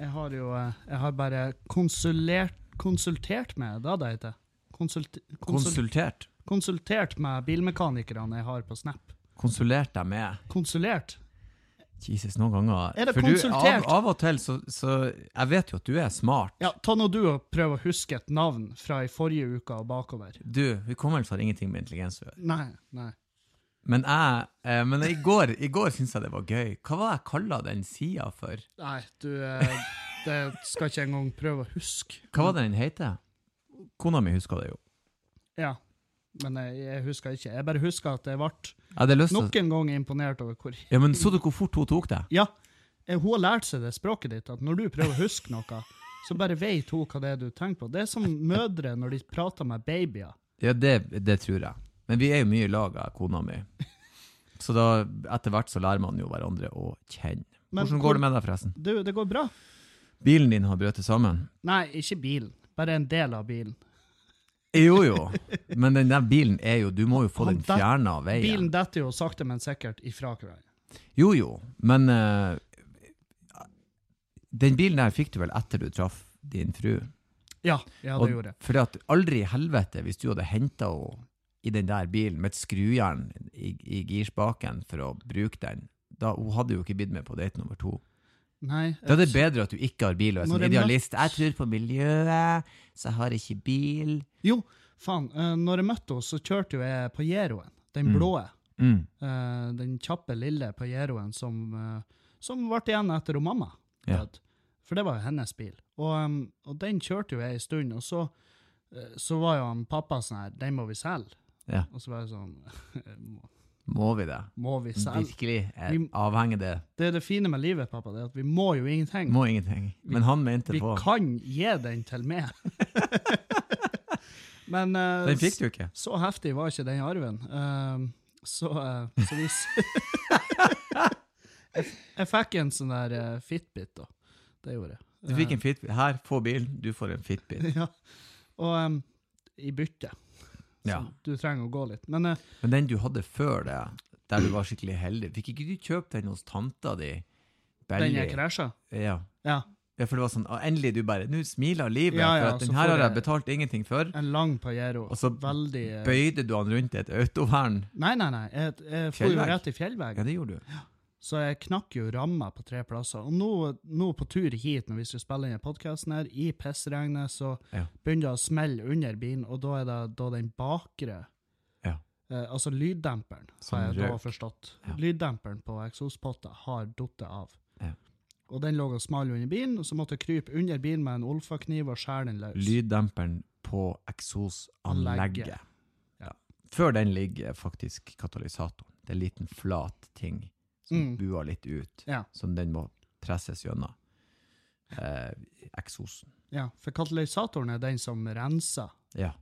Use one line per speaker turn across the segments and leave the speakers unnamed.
Jeg har jo eh, Jeg har bare konsulert, konsultert med Da det heter. Konsult, konsul,
Konsultert.
konsultert med bilmekanikerne jeg har på Snap.
Konsulert deg med
Konsulert?
Jesus, noen ganger
Er det
For
konsultert?
Du, av, av og til så, så Jeg vet jo at du er smart.
Ja, ta nå du og prøv å huske et navn fra i forrige uke og bakover.
Du, hukommelse har ingenting med intelligens å gjøre.
Nei, nei.
Men jeg eh, Men i går, i går syntes jeg det var gøy. Hva var det jeg kalla den sida for?
Nei, du eh, Det skal ikke engang prøve å huske.
Hva var det den heter? Kona mi huska det jo.
Ja. Men jeg, jeg husker ikke. Jeg bare husker at jeg ble
Jeg hadde lyst til å
nok en gang imponert over hvor
Ja, men så du hvor fort hun tok det?
Ja, eh, hun har lært seg det språket ditt, at når du prøver å huske noe, så bare vet hun hva det er du tenker på. Det er som mødre når de prater med babyer.
Ja, det, det tror jeg. Men vi er jo mye i lag, jeg og kona mi. Så da, etter hvert så lærer man jo hverandre å kjenne.
Men
Hvordan
hvor-
går det med deg, forresten?
Du, det går bra.
Bilen din har brøt sammen?
Nei, ikke bilen. Bare en del av bilen.
Jo, jo. Men den der bilen er jo Du må jo få
Han
den
der-
fjerna av veien.
Bilen detter jo sakte, men sikkert ifra hverandre.
Jo, jo. Men eh, den bilen der fikk du vel etter du traff din fru?
Ja, ja, det gjorde jeg.
Fordi at aldri i helvete, hvis du hadde henta henne i den der bilen med et skrujern i, i girspaken for å bruke den, da hun hadde jo ikke blitt med på date nummer to.
Nei, eh,
Da er det bedre at du ikke har bil og er
Når
sånn
jeg
idealist. Jeg tror på miljøet, så jeg har ikke bil.
Jo, faen. eh, når jeg møtte henne, så kjørte jo jeg på Jeroen. Den
Mm.
blå.
Mm.
eh, den kjappe, lille på Jeroen som, eh, som ble igjen etter hun mamma.
Ja.
død. For det var jo hennes bil. Og, em, og den kjørte jo jeg en stund, og så, eh, så var jo han pappa sånn her, den må vi selge.
Ja.
Og så var jeg sånn,
Må vi det?
må vi selge?
Virkelig eh,
Vi-
avhenger det.
Det er det fine med livet, pappa, det er at vi må jo ingenting.
Må ingenting. Men han mente
vi
på.
kan gi den til meg. Men eh,
Den fikk du ikke.
så heftig var ikke den arven. Ehm, så, eh, så vis. jeg, jeg fikk en sånn der eh, Fitbit, da. Det gjorde jeg. Eh,
Du fikk en Fitbit. Her, få bilen, du får en Fitbit.
ja. Og em, i bytte. Så
Ja.
du trenger å gå litt. Men eh,
Men den du hadde før det, der du var skikkelig heldig, fikk ikke du kjøpt den hos tanta di?
den jeg
Belly?
krasja
Ja.
Ja.
ja, for det var sånn, «Å, endelig du bare, nå smiler livet,
Ja, ja,
for at
så
den her
får
har jeg
jeg-
betalt ingenting for.
En lang Pajero.
Og så
Veldig eh,
Bøyde du han rundt i et autovern?
Nei, nei, nei. Jeg, jeg for jo
Fjellvegg.
rett i fjellveggen.
Ja, det gjorde du.
Så jeg knakk jo ramma på tre plasser. Og nå, nå på tur hit, når vi skal spille inn podkasten her, i pissregnet, så
Ja.
begynner det å smelle under bilen, og da er det da den bakre
Ja.
eh, Altså lyddemperen,
Som
har jeg da
røk.
forstått.
Ja.
Lyddemperen på eksospotta har datt av.
Ja.
Og den lå og smalt under bilen, og så måtte jeg krype under bilen med en olfakniv og skjære den løs.
Lyddemperen på eksosanlegget.
Anlegget.
Ja. Før den ligger faktisk katalysatoren. Det er en liten flat ting som
Mm.
buer litt ut,
Ja.
som den må presses gjennom. Eh, eksosen.
Ja, for katalysatoren er den som renser.
Ja.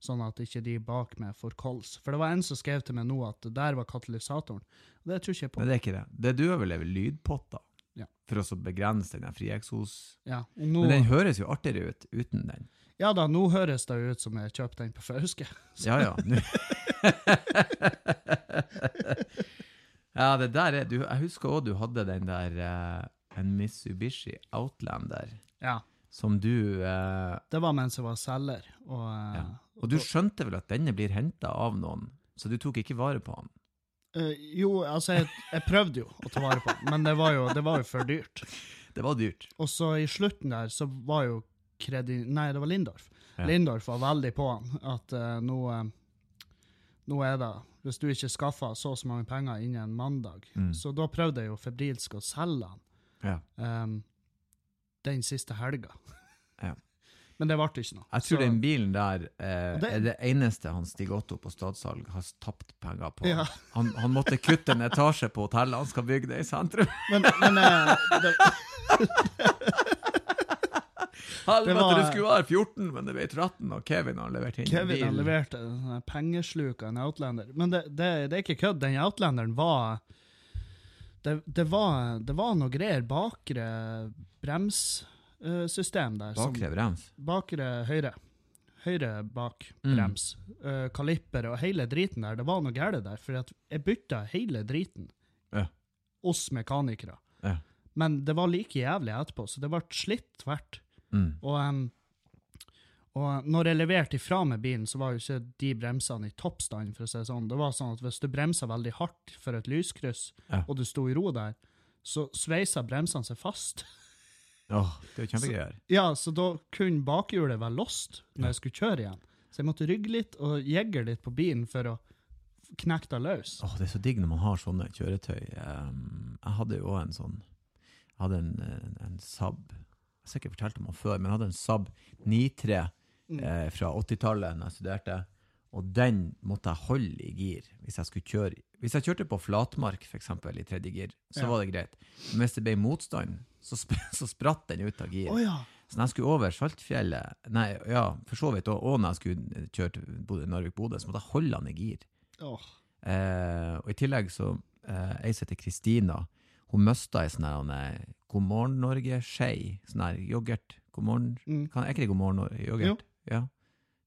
sånn at ikke de bak meg får kols. For det var en som skrev til meg nå at det der var katalysatoren. Og det tror ikke jeg på.
Nei, det er ikke det. Det du overlever lydpotter,
Ja. Oh.
for å så begrense den her frieksos.
Ja, og nå,
Men den høres jo artigere ut uten den.
ja da, nå høres det jo ut som jeg kjøpte den på Fauske.
Ja, ja. nu- ja, det der er du, Jeg husker òg du hadde den der eh, en Mitsubishi Outlander
Ja,
som du eh,
det var mens jeg var selger. Og,
ja.
eh,
Og du skjønte vel at denne blir henta av noen, så du tok ikke vare på han.
eh, jo, altså, jeg, jeg prøvde jo å ta vare på den, men det var jo, det var jo for dyrt.
Det var dyrt.
Og så i slutten der, så var jo kredi... Nei, det var Lindorf.
Ja.
Lindorf var veldig på han, at eh, nå, eh, nå er det Hvis du ikke skaffer så og så mange penger innen mandag
Mm.
Så da prøvde jeg jo febrilsk å selge han
Ja.
em, den siste helga.
Ja.
Men det ble ikke noe.
Jeg tror
Så-
den bilen der eh,
Og det-
er det eneste han Stig Otto på Stadssalg har tapt penger på.
Ja.
Han, han måtte kutte en etasje på hotellet han skal bygge det i sentrum.
Men, men eh, det,
Helvete,
var-
det skulle være 14, men det ble 13, og Kevin har levert inn
Kevin
bil.
har levert en sånn her pengesluker, en outlender. Men det, det, det er ikke kødd. Den outlanderen var Det, det, var, det var noe greier. Bakre bremssystem der. som-
Bakre brems.
bakre høyre. Høyre bak
Mm.
brems. Eh, kaliper og hele driten der. Det var noe galt der, for at jeg bytta hele driten
Ja.
oss mekanikere.
Ja.
Men det var like jævlig etterpå, så det ble slitt tvert.
Mm.
Og, em, og når jeg leverte ifra med bilen, så var jo ikke de bremsene i toppstand, for å si det sånn. Det var sånn at hvis du bremsa veldig hardt for et lyskryss,
Ja.
og du sto i ro der, så sveisa bremsene seg fast.
Åh, det er jo kjempegreier.
Ja, så da kunne bakhjulet være lost når jeg skulle kjøre igjen. Så jeg måtte rygge litt og jegge litt på bilen for å knekke det løs.
Åh, det er så digg når man har sånne kjøretøy. Ehm, jeg hadde jo også en sånn Jeg hadde en, en, en Saab Jeg har ikke fortalt om den før, men jeg hadde en Saab 93 eh, fra 80-tallet da jeg studerte. Og den måtte jeg holde i gir hvis jeg skulle kjøre. Hvis jeg kjørte på flatmark, f.eks. i tredje gir, så
Ja.
var det greit. Men hvis det ble motstand, så, sp så spratt den ut av gir.
Å ja!
Så når jeg skulle over Saltfjellet, nei, ja, for så vidt, og, og når jeg skulle kjøre til Bodø- Narvik-Bodø, så måtte jeg holde den i gir.
Åh.
Eh, og i tillegg så eh, Ei som heter Kristina, hun mista ei sånn her han, eh, God morgen Norge-skei. Sånn her yoghurt. God morgen
Mm.
kan, Er ikke det God morgen Norge? Yoghurt? Ja.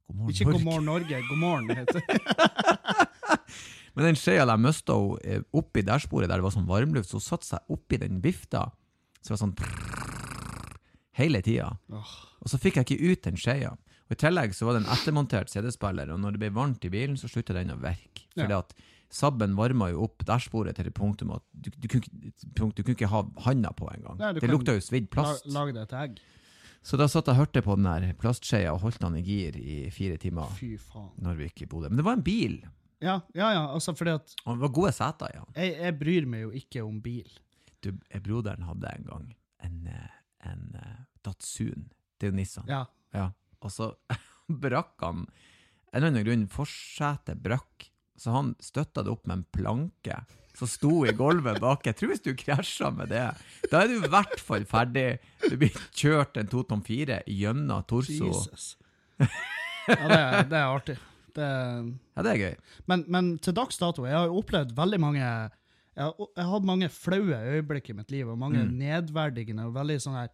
God morgen
Ikke God
Norge.
morgen Norge, God morgen heter det.
Men den skeia der mista hun eh, oppi dashbordet der det var sånn varmluft, så hun satte seg oppi den vifta. Så det var sånn hele tida.
Åh.
Og så fikk jeg ikke ut den skeia. Og I tillegg så var det en ettermontert CD-spiller, og når det ble varmt i bilen, så slutta den å virke.
Ja.
Fordi at Sabben varma jo opp dashbordet til det punktum at du, du, kunne, ikke- punkt, du kunne ikke ha handa på engang.
Nei, du
Det
kan-
lukta jo svidd
La,
plast.
lag deg et egg.
Så da satt jeg og hørte på den der plastskeia og holdt den i gir i fire timer.
Fy faen.
Narvik i Bodø. Men det var en bil,
Ja, ja, ja altså fordi at
og det var gode seter i den.
jeg, jeg bryr meg jo ikke om bil.
Du, eh, Broderen hadde en gang en, eh, en eh, Datsun. Det er jo Nissan.
Ja.
Ja, og så brakk han En eller annen grunn, forsetet brakk, så han støtta det opp med en planke som sto i gulvet bak. Jeg tror hvis du krasja med det, da er du i hvert fall ferdig. Du blir kjørt en 2,4 gjennom torso.
Jesus. Ja, det, er- det er artig. Det er
Ja, det er gøy.
Men, men til dags dato, jeg har jo opplevd veldig mange Jeg har, jeg har hatt mange flaue øyeblikk i mitt liv, og mange nedverdigende og veldig sånn her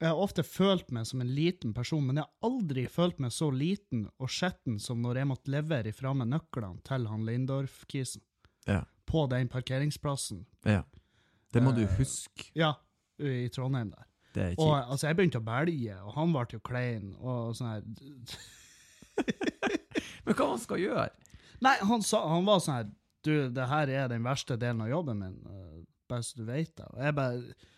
Jeg har ofte følt meg som en liten person, men jeg har aldri følt meg så liten og skjetten som når jeg måtte levere ifra meg nøklene til han Lindorf-kisen
Ja.
på den parkeringsplassen,
ja. Det må du huske.
ja, i Trondheim der.
Det er
Eh, Og
kjipt.
altså, jeg begynte å belge, og han ble jo klein, og sånn her
Men hva man skal gjøre?
Nei, han, sa, han var sånn her Du, det her er den verste delen av jobben min. eh, Bare så du vet det. Og jeg bare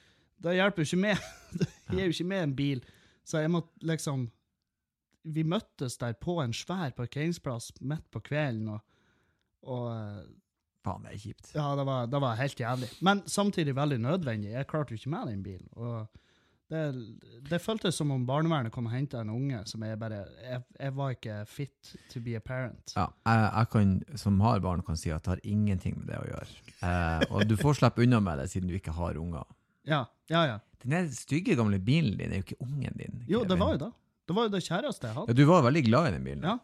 Det hjelper jo ikke med. Jeg er jo ikke med en bil. Så jeg måtte liksom Vi møttes der på en svær parkeringsplass midt på kvelden, og, og eh,
Faen, det er kjipt.
Ja, det var, det var helt jævlig. Men samtidig veldig nødvendig. Jeg klarte jo ikke med den bilen. og det, det føltes som om barnevernet kom og henta en unge som jeg bare jeg, jeg var ikke fit to be a parent.
Ja, jeg, jeg kan, som har barn, kan si at det har ingenting med det å gjøre. Eh, og du får slippe unna med det siden du ikke har unger.
Ja, ja, ja.
Den der stygge gamle bilen din er jo ikke ungen din.
Jo, det
Kevin.
var jo det. Det var jo det kjæreste jeg
Ja,
hadde.
du var veldig glad i den bilen.
Ja.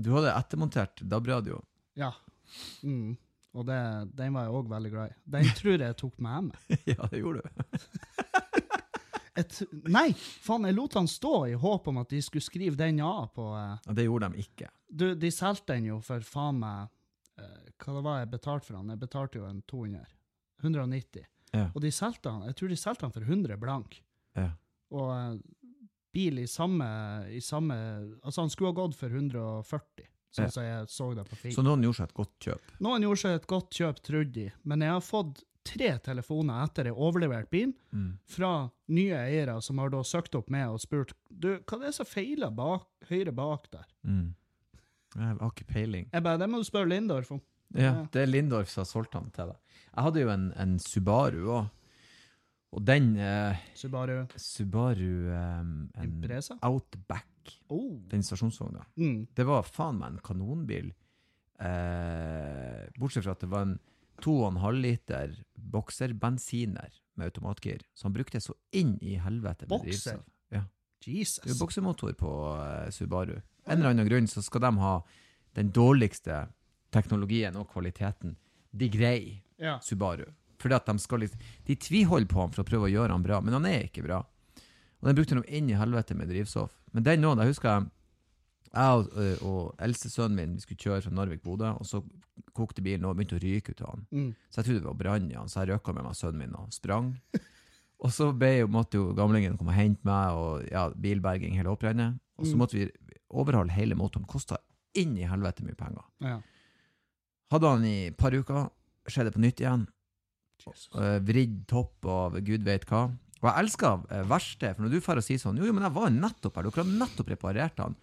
Du hadde ettermontert DAB-radio.
Ja. Mm. Og det, den var jeg òg veldig glad i. Den tror jeg tok med meg.
ja, det gjorde du.
Jeg tr- nei, faen, jeg lot han stå i håp om at de skulle skrive den av på eh,
Ja, det gjorde de ikke.
Du, de solgte den jo for faen meg eh, Hva det var jeg betalte for han? Jeg betalte jo en 200. 190.
Ja.
Og de solgte han, jeg tror de solgte han for 100 blank.
Ja.
Og eh, bil i samme, i samme Altså, han skulle ha gått for 140,
Ja. Sånn-
sånn som jeg så det på film.
Så noen gjorde seg et godt kjøp.
Noen gjorde seg et godt kjøp, trodde de, men jeg har fått tre telefoner etter jeg overleverte bilen,
Mm.
fra nye eiere som har da søkt opp meg og spurt du, hva er det som feiler bak, høyre bak der?
Mm. Jeg har ikke peiling.
Jeg bare, det må du spørre Lindorf om.
Ja, det er Lindorf som har solgt den til deg. Jeg hadde jo en, en Subaru òg. Og den eh,
Så bare,
Subaru eh, en
Impreza?
Outback,
oh.
den stasjonsvogna,
Mm.
det var faen meg en kanonbil. Eh, bortsett fra at det var en 2,5 liter bokserbensiner med automatgir, så han brukte så inn i helvete med
Bokser?
drivstoff. Ja. Det er
Jesus.
jo boksermotor på eh, Subaru. En eller annen grunn så skal de ha den dårligste teknologien og kvaliteten. De greier
Ja.
Subaru. Fordi at de skal liksom De tviholder på han for å prøve å gjøre han bra, men han er ikke bra. Og den brukte de inn i helvete med drivstoff. Men den nå, da husker jeg jeg og, ø, og eldstesønnen min vi skulle kjøre fra Narvik-Bodø, og så kokte bilen og begynte å ryke ut av han.
Mm.
Så jeg trodde det var brann i han, så jeg røka med meg sønnen min og sprang. Og så ble, jo- måtte jo gamlingen komme og hente meg, og ja, bilberging hele opprennet. Og så
Mm.
måtte vi overholde hele motoren. Kosta inn i helvete mye penger.
Ja.
Hadde han i et par uker, skjedde det på nytt igjen. Eh, vridd topp av gud vet hva. Og jeg elsker eh, verksted, for når du får og sier sånn Jo, jo, men jeg var jo nettopp her, dere har nettopp reparert han.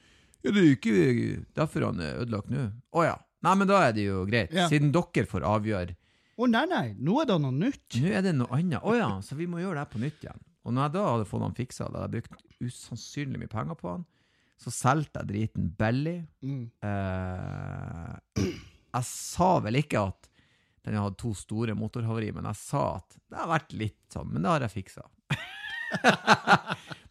Ja, det er jo ikke derfor han er ødelagt nå. Å ja. Nei, men da er det jo greit,
Ja.
siden dere får avgjøre.
Å nei, nei, nå er det noe nytt.
Nå er det noe annet. Å ja, så vi må gjøre det her på nytt igjen. Og når jeg da hadde fått han fiksa, da hadde jeg brukt usannsynlig mye penger på han, så solgte jeg driten billig.
Mm.
Eh, jeg sa vel ikke at den hadde to store motorhavari, men jeg sa at det har vært litt sånn, men det har jeg fiksa.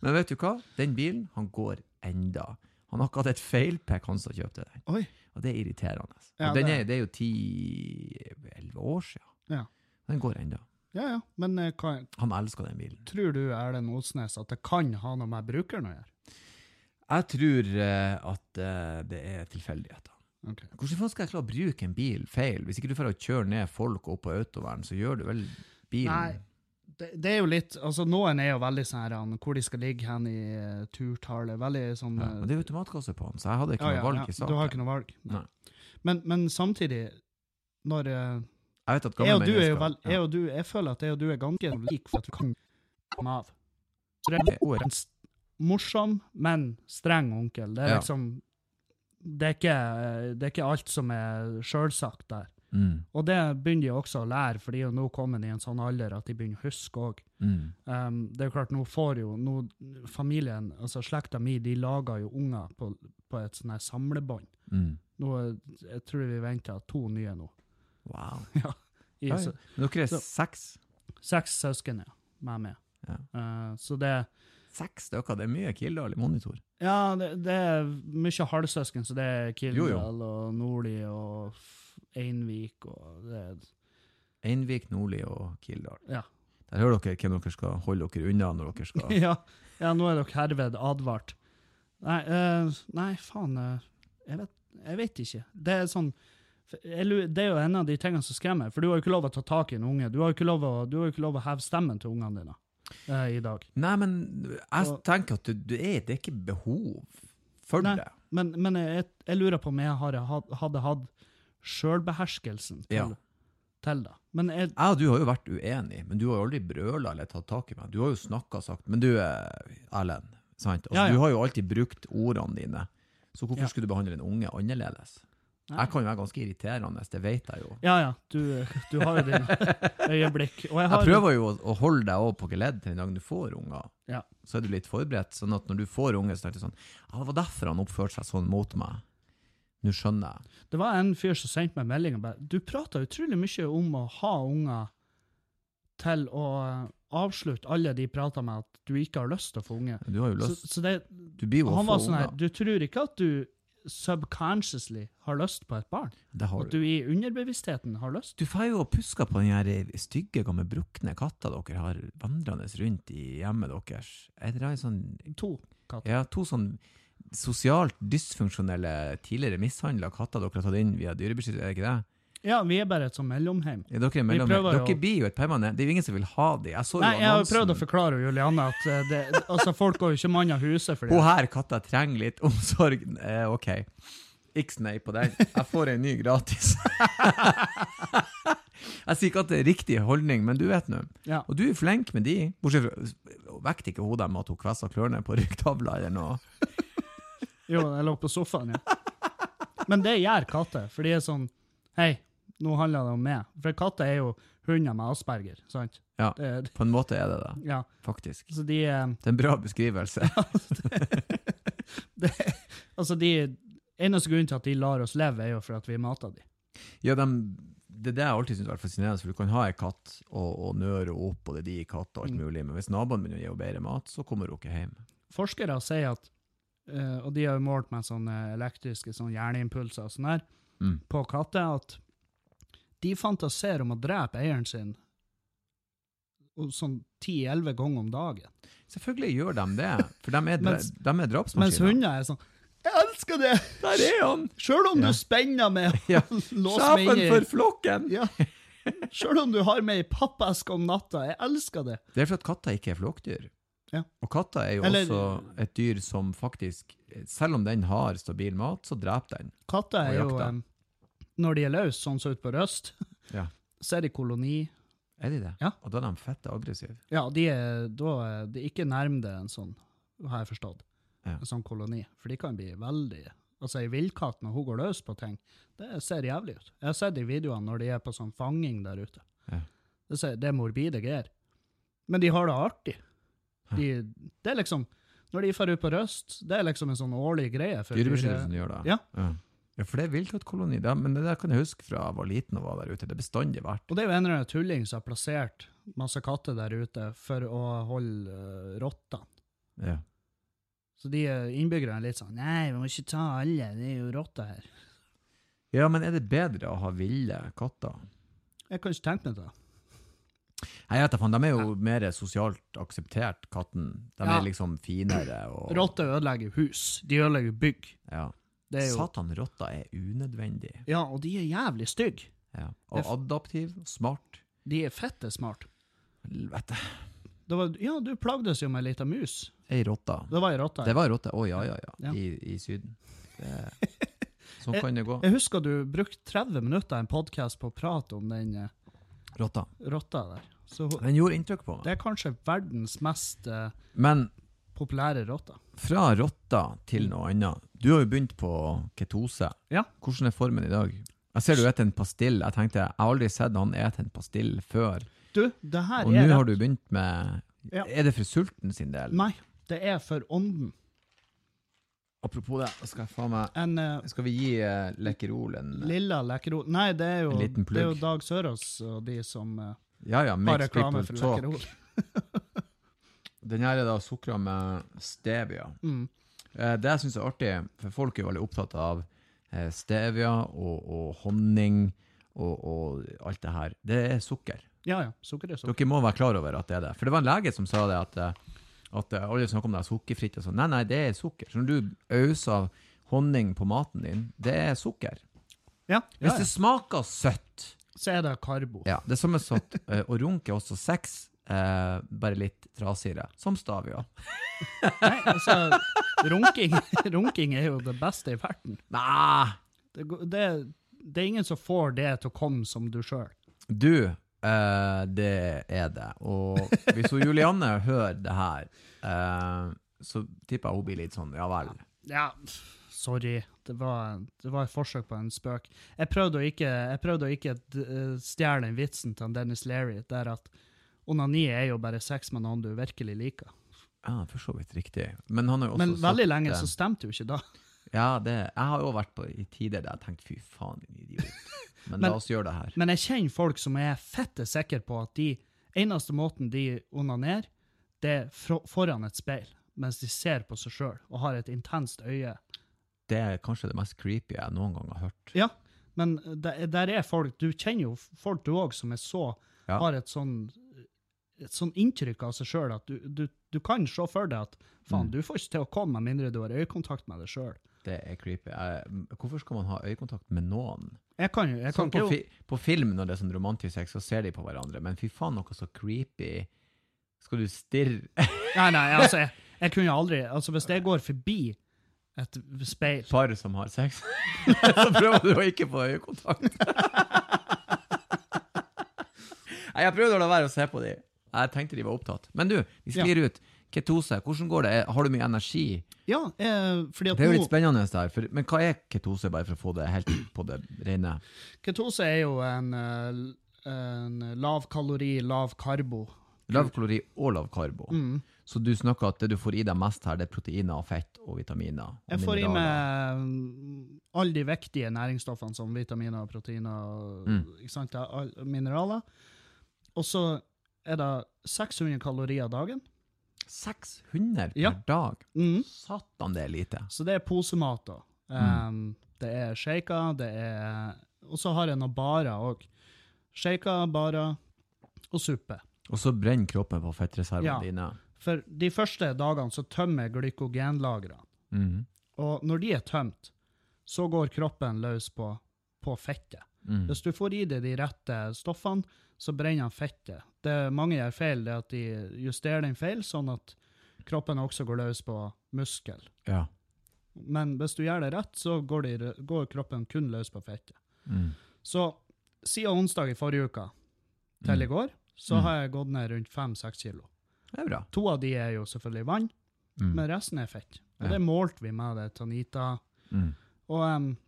men vet du hva? Den bilen, han går enda. Han har ikke hatt et feilpekk, han som kjøpte den.
Oi.
Og det er irriterende.
Ja,
og den
det
er, det er jo 10-11 år siden.
Ja.
Den går enda.
Ja, ja. Men eh, hva,
Han elsker den bilen.
tror du, Erlend Osnes, at det kan ha noe med brukeren å gjøre?
Jeg tror eh, at eh, det er tilfeldigheter.
Ok.
Hvordan faen skal jeg klare å bruke en bil feil? Hvis ikke du får å kjøre ned folk opp på autovern, så gjør du vel bilen
Nei. Det, det er jo litt, altså Noen er jo veldig sånn her, han, hvor de skal ligge hen i eh, turtallet. Veldig sånn
ja,
eh,
Men det er jo automatkasse på den, så jeg hadde ikke noe valg i
Du
saken.
har ikke noe valg.
Nei.
Men, men samtidig, når eh,
Jeg vet at
jeg
gamle
og du er jo
mennesker
vel, jeg, og du, jeg føler at jeg og du er ganske like for at vi kan komme av. Så det
ja,
er en s- morsom, men streng onkel. Det er
Ja.
liksom det er, ikke, det er ikke alt som er sjølsagt der.
mm,
Og det begynner de også å lære, for de er jo nå kommet i en sånn alder at de begynner å huske òg.
mm,
Um, det er jo klart, nå får jo nå, familien, altså slekta mi, de lager jo unger på, på et sånn her samlebånd.
mm.
Nå, er- jeg tror vi venter to nye nå.
Wow.
I,
Ja, ja.
s-
Men dere er
Så-
seks?
Seks søsken, ja. Meg med.
Ja.
Eh, så det
Seks stykker, det er mye Kildahl i monitor.
Ja, det, det er mye halvsøsken, så det er
Jo, jo.
Kildahl og Nordli og F- Einvik og det er
Einvik, Nordli og Kildahl.
Ja.
Der hører dere hvem dere skal holde dere unna når dere skal
ja, ja, nå er dere herved advart. Nei, eh, nei faen. eh, jeg, vet, jeg vet ikke. Det er sånn for jeg, lu- Det er jo en av de tingene som skremmer, for du har jo ikke lov å ta tak i en unge. Du har jo ikke lov å, du har jo ikke lov å heve stemmen til ungene dine eh, i dag.
Nei, men jeg
Og-
tenker at du, du er, det er ikke behov for
Nei.
det.
Men, men jeg, jeg lurer på om jeg har, hatt- hadde hatt sjølbeherskelsen til,
Ja.
til det. Men jeg,
Jeg og du har jo vært uenig, men du har jo aldri brøla eller tatt tak i meg. Du har jo snakka og sagt Men du, eh, Erlend, sant? Altså,
Ja, ja.
du har jo alltid brukt ordene dine, så hvorfor
Ja.
skulle du behandle en unge annerledes?
Nei.
Jeg kan jo være ganske irriterende, det vet jeg jo.
ja ja, du, du har jo dine øyeblikk. Og jeg
Jeg
har
prøver jo å, å holde deg over på geledd til den dagen du får unger.
Ja.
Så er du litt forberedt, sånn at når du får unger, så er det sånn Ja, det var derfor han oppførte seg sånn mot meg. Nå skjønner jeg.
Det var en fyr som sendte meg melding og bare Du prater utrolig mye om å ha unger til å avslutte alle de prater med at du ikke har lyst til å få unge.
Du har jo
Så,
lyst
så det,
Du blir jo å
han
få
var sånn her
unger.
Du tror ikke at du subconsciously har lyst på et barn?
Det har
At
du.
du i underbevisstheten har lyst?
Du får jo og pusker på den her stygge, gamle brukne katta dere har vandrende rundt i hjemmet deres. Er det en sånn,
To katter.
ja, to sånn sosialt dysfunksjonelle, tidligere mishandla katter dere har tatt inn via dyrebeskyttelse, er det ikke det?
Ja, vi er bare et sånt mellomheim.
Ja, dere er mellom,
prøver
dere
jo-
blir jo et permanent Det er jo ingen som vil ha de. Jeg så jo
Nei, jeg har jo
annonsen.
prøvd å forklare Julianne at eh, det, altså, folk går jo ikke mann av huset for
Hun
det.
her katta trenger litt omsorg. Eh, ok. Ikke nei på den. Jeg får en ny gratis. jeg sier ikke at det er riktig holdning, men du vet nå.
Ja.
Og du er flink med de. Bortsett fra Vekket ikke hun dem at hun kvessa klørne på ryggtavla eller noe?
Jo, jeg lå på sofaen, ja. Men det gjør katter, for de er sånn Hei, nå handler det om meg. For katter er jo hunder med asperger, sant?
Ja.
Det-
På en måte er det det,
ja.
faktisk.
Så de eh,
Det er en bra beskrivelse.
Altså, de Eneste grunnen til at de lar oss leve, er jo for at vi mater de.
Ja, dem- det er det jeg alltid syns er fascinerende, for du kan ha ei katt og, og nøre henne opp, og det er de katt og alt
Mm.
mulig, men hvis naboen begynner å gi henne bedre mat, så kommer hun ikke hjem.
Forskere sier at eh, Og de har jo målt med sånne elektriske sånne hjerneimpulser og sånn her
Mm.
på katter, at de fantaserer om å drepe eieren sin og sånn 10-11 ganger om dagen.
Selvfølgelig gjør de det, for de er, dra
Mens-
de er
Mens
drapsmaskiner.
hunder er sånn Jeg elsker det!
Der er han!
Sjøl om
Ja.
du spenner med
Ja.
Lås meg
Sjefen
inn i
for flokken!
Ja. Sjøl om du har med ei pappeske om natta. Jeg elsker det.
Det er fordi at katter ikke er flokkdyr.
Ja.
Og katter er jo
Eller-
også et dyr som faktisk, selv om den har stabil mat, så dreper den.
Katter er
Og
jo
jakta.
em, Når de er løs, sånn som ute på Røst,
Ja.
så er de koloni.
Er de det?
Ja.
Og da er de fette aggressive.
Ja, de er, da er de ikke nærmere en sånn, har jeg forstått,
Ja.
en sånn koloni. For de kan bli veldig Altså, ei villkatt når hun går løs på ting, det ser jævlig ut. Jeg har sett de videoene når de er på sånn fanging der ute.
Ja.
Det, ser, det er morbide greier. Men de har det artig. De, det er liksom Når de drar ut på røst, det er liksom en sånn årlig greie. for dyre-
Dyrebeskyttelsen gjør det.
Ja.
ja. Ja, for det er viltkattkoloni. det- Men det der kan jeg huske fra jeg var liten og var der ute. Det er bestandig verdt.
Og det er jo en eller annen tulling som har plassert masse katter der ute for å holde uh, rottene.
Ja.
Så de eh, innbyggerne er litt sånn Nei, vi må ikke ta alle, det er jo rotter her.
ja, men er det bedre å ha ville katter?
Jeg kan ikke tenke meg det.
Nei, jeg vet da faen, de er jo mer sosialt akseptert, katten. De
Ja.
er liksom finere og
Rotter ødelegger hus. De ødelegger bygg.
Ja.
Det er jo,
Satan, rotta er unødvendig.
ja, og de er jævlig stygge.
Ja.
Det er
Og
f-
adaptiv, smart.
De er fette smart.
Helvete.
Det var, ja, du plagdes jo med ei lita mus.
Ei rotte.
Det var ei rotte.
Det var ei rotte. Å, ja, ja, ja.
Ja.
I, i Syden. Det, sånn kan det gå.
Jeg husker du brukte 30 minutter i en podkast på å prate om den eh,
Rotta.
rotta der. Så hun-
Den gjorde inntrykk på meg.
det er kanskje verdens mest eh,
Men
populære rotte.
fra rotta til noe annet. Du har jo begynt på ketose.
Ja.
Hvordan er formen i dag? Jeg ser du spiser en pastill. Jeg tenkte, jeg har aldri sett han spise en pastill før.
Du, det her
Og nå
er
har du begynt med
Ja.
Er det for sulten sin del?
Nei, det er for ånden.
Apropos det, skal jeg faen meg
En eh,
Skal vi gi uh, Lekkerol en
Lilla Lekkerol Nei, det er jo,
En liten plugg.
det er jo Dag Sørås og de som eh,
Ja ja,
har
makes
reklame
people
for
talk.
Lekkerol.
Den her er da sukra med stevia.
Mm.
Eh, Det jeg syns er artig, for folk er jo veldig opptatt av eh, stevia og, og honning og, og alt det her. Det er sukker.
Ja ja, sukker er sukker.
Dere må være klar over at det er det. For det var en lege som sa det, at, eh, at eh, alle snakker om det er sukkerfritt og sånn. Nei, nei, det er sukker. Så når du øser honning på maten din, det er sukker.
Ja, ja,
Hvis
ja.
det smaker søtt
Så er det karbo.
ja, Det samme som at eh, å runke er også sex, eh, bare litt trasigere. Som stavia.
Nei, altså, runking, runking er jo det beste i verden.
Nei!
Det, går- det, det er ingen som får det til å komme som du sjøl.
Du, eh, det er det. Og hvis hun Julianne hører det her, eh, så tipper jeg hun blir litt sånn ja vel.
Ja, pff, sorry. Det var, det var et forsøk på en spøk. Jeg prøvde å ikke, jeg prøvde å ikke d- eh, stjele den vitsen til han Dennis Leary, der at onani er jo bare sex med noen du virkelig liker.
Ja, for så vidt riktig. Men han har jo også
Men
sagt
veldig lenge
det.
så stemte jo ikke det.
Ja, det, jeg har jo vært på i tider der jeg tenkte fy faen, din idiot. Men,
Men-
la oss gjøre det her.
Men jeg kjenner folk som er fette sikre på at de eneste måten de onanerer, det er fra- foran et speil, mens de ser på seg sjøl og har et intenst øye.
Det er kanskje det mest creepy jeg noen gang har hørt.
Ja, men der, der er folk Du kjenner jo folk, du òg, som er så
Ja.
Har et sånn et sånn inntrykk av seg sjøl at du, du, du kan se for deg at faen,
Mm.
du får ikke til å komme med mindre du har øyekontakt med deg sjøl.
Det er creepy. Jeg, hvorfor skal man ha øyekontakt med noen?
Jeg kan jo jeg kan
Sånn på,
ikke jo-
fi, på film, når det er sånn romantisk sex, så ser de på hverandre, men fy faen, noe så creepy. Skal du stirre
Nei, nei, altså, jeg, jeg kunne jo aldri Altså, hvis jeg går forbi et speil
par som har sex, så prøver du å ikke få øyekontakt. Nei, jeg prøvde å la være å se på de. Jeg tenkte de var opptatt. Men du, vi sklir ut. Ketose, hvordan går det? Er- Har du mye energi?
Ja, eh, fordi at
Det er jo
nå
litt spennende der, for, men hva er ketose, bare for å få det helt på det rene?
Ketose er jo en, eh, en lav kalori, lav karbo.
Lav kalori og lav karbo.
Mm.
Så du snakker at det du får i deg mest her, det er proteiner og fett og vitaminer. Og
Jeg får i
mineraler.
meg mm, alle de viktige næringsstoffene som vitaminer og proteiner og
Mm.
ikke sant, det er all- mineraler. Og så er det 600 kalorier dagen.
600
Ja.
per dag?
Mm.
Satan, det er lite.
Så det er posemat. da. Um, Det er shaker, det er Og så har jeg noen barer òg. Shaker, barer og suppe.
Og så brenner kroppen på fettreservene
Ja.
dine.
For de første dagene så tømmer jeg glykogenlagrene.
Mhm.
Og når de er tømt, så går kroppen løs på, på fettet.
Mm.
Hvis du får i deg de rette stoffene, så brenner han fettet. Det mange gjør feil, det er at de justerer den feil, sånn at kroppen også går løs på muskel.
Ja.
Men hvis du gjør det rett, så går, de, går kroppen kun løs på fettet.
Mm.
Så siden onsdag i forrige uke til i
Mm.
går, så
Mm.
har jeg gått ned rundt 5-6 kilo.
Det er bra.
To av de er jo selvfølgelig vann,
Mm.
men resten er fett. Og
Ja.
det målte vi med det Tanita.
Mm.
Og, em,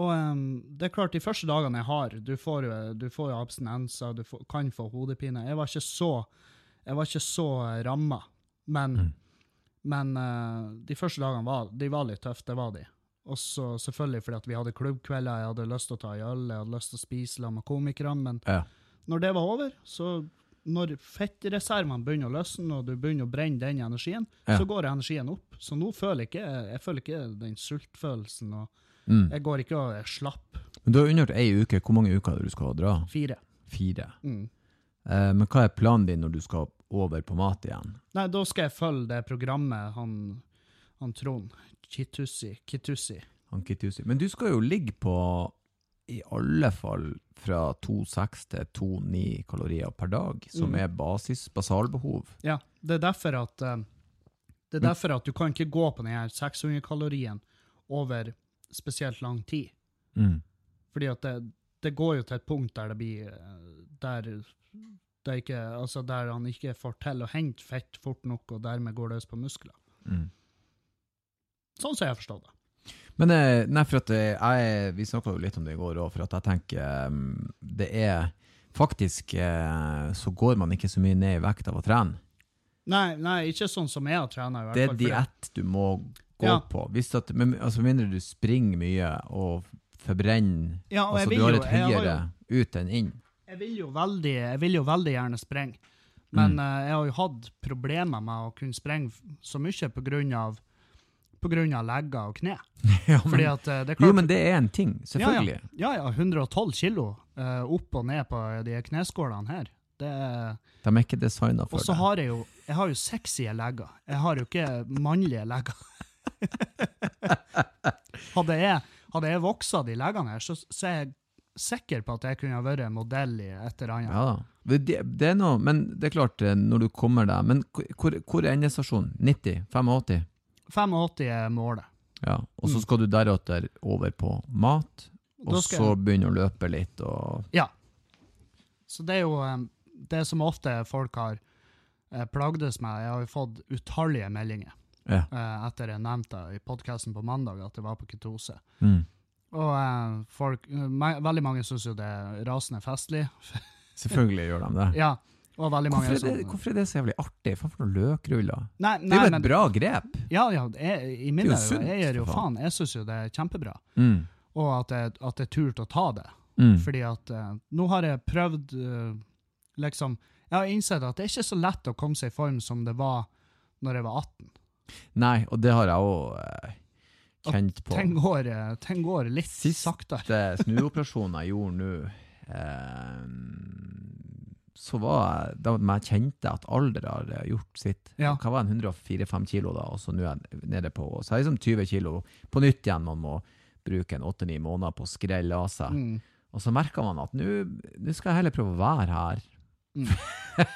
og em, det er klart, de første dagene jeg har, du får jo, du får jo abstinenser, du får, kan få hodepine. Jeg var ikke så, jeg var ikke så ramma, men,
Mm.
men eh, de første dagene var, de var litt tøffe, det var de. Og så selvfølgelig fordi at vi hadde klubbkvelder, jeg hadde lyst til å ta en øl, jeg hadde lyst til å spise sammen med komikere, men
Ja.
når det var over, så når fettreservene begynner å løsne, og du begynner å brenne den energien,
Ja.
så går energien opp. Så nå føler jeg ikke, jeg føler ikke den sultfølelsen. og
Mm.
jeg går ikke og er slapp.
Men du har undergjort ei uke. Hvor mange uker er det du skal dra?
Fire.
Fire.
Mm.
Eh, men hva er planen din når du skal over på mat igjen?
Nei, da skal jeg følge det programmet han, han Trond Kitussi, Kitussi.
Ankitusi. Men du skal jo ligge på i alle fall fra 2,6 til 2,9 kalorier per dag, som
Mm.
er basis, basalbehov.
Ja, det er derfor at eh, det er derfor at du kan ikke gå på den her 600-kalorien over spesielt lang tid.
Mm,
Fordi at det, det går jo til et punkt der det blir eh, der det ikke, altså der han ikke får til å hente fett fort nok, og dermed går løs på muskler.
Mm.
Sånn som jeg forstår det.
Men eh, nei, for at eh, jeg, vi snakka jo litt om det i går òg, for at jeg tenker eh, det er Faktisk eh, så går man ikke så mye ned i vekt av å trene.
Nei, nei ikke sånn som jeg har trent.
Det er diett du må gå
Ja.
på. Hvis at, men, altså mindre du springer mye og forbrenner
Ja, og jeg
Altså
vil
du har
jo-
et
jeg har jo-
høyere ut enn inn.
Jeg vil jo veldig, jeg vil jo veldig gjerne sprenge, men
Mm.
eh, jeg har jo hatt problemer med å kunne sprenge f- så mye på grunn av, på grunn av legger og kne.
ja,
Fordi at eh, det er klart...
Mm. Jo, men det er en ting, selvfølgelig.
Ja, ja, ja 112 kilo eh, opp og ned på de kneskålene her. Det er...
De er ikke designa for
Og så
det.
har jeg jo jeg har jo sexy legger. Jeg har jo ikke mannlige legger. hadde, jeg, hadde jeg voksa de leggene her, så, så er jeg sikker på at jeg kunne ha vært en modell i et eller annet.
Ja, da. det, det er noe, men det er klart, eh, når du kommer deg Men hvor- hvor, hvor er endestasjonen? 90? 85?
85 er målet.
Ja. Og så
Mm.
skal du deretter over på mat, og
Da skal
så begynne å løpe litt og
Så det er jo eh, det som ofte folk har eh, plagdes med. Jeg har jo fått utallige meldinger
Ja.
eh, etter jeg nevnte i podkasten på mandag at jeg var på ketose.
Mm.
Og eh, folk, me veldig mange syns jo det er rasende festlig.
Selvfølgelig gjør de det.
Ja, og veldig mange
Hvorfor er det,
som-
hvorfor er det så jævlig artig? Faen for noen løkruller.
Nei,
Det er
nei,
jo
men,
et bra grep.
ja, ja, jeg, I mine
Det er jo
øyne
sunt,
jeg gir jo
for faen.
faen. Jeg syns jo det er kjempebra.
Mm.
Og at jeg, at jeg turte å ta det.
Mm.
Fordi at eh, nå har jeg prøvd eh, liksom Jeg har innsett at det er ikke så lett å komme seg i form som det var når jeg var 18.
Nei, og det har jeg òg eh,
At
kjent på.
Den går, eh, den går litt
Sist-
saktere.
siste snuoperasjonen jeg gjorde nå, eh, så var jeg, da jeg kjente at alder har eh, gjort sitt.
Ja.
Hva var jeg, 104-5 kilo da, og så nå er jeg nede på så er jeg liksom 20 kilo på nytt igjen. Man må bruke en 8-9 måneder på å skrelle av seg.
Mm.
Og så merka man at nå nå skal jeg heller prøve å være her.
Mm.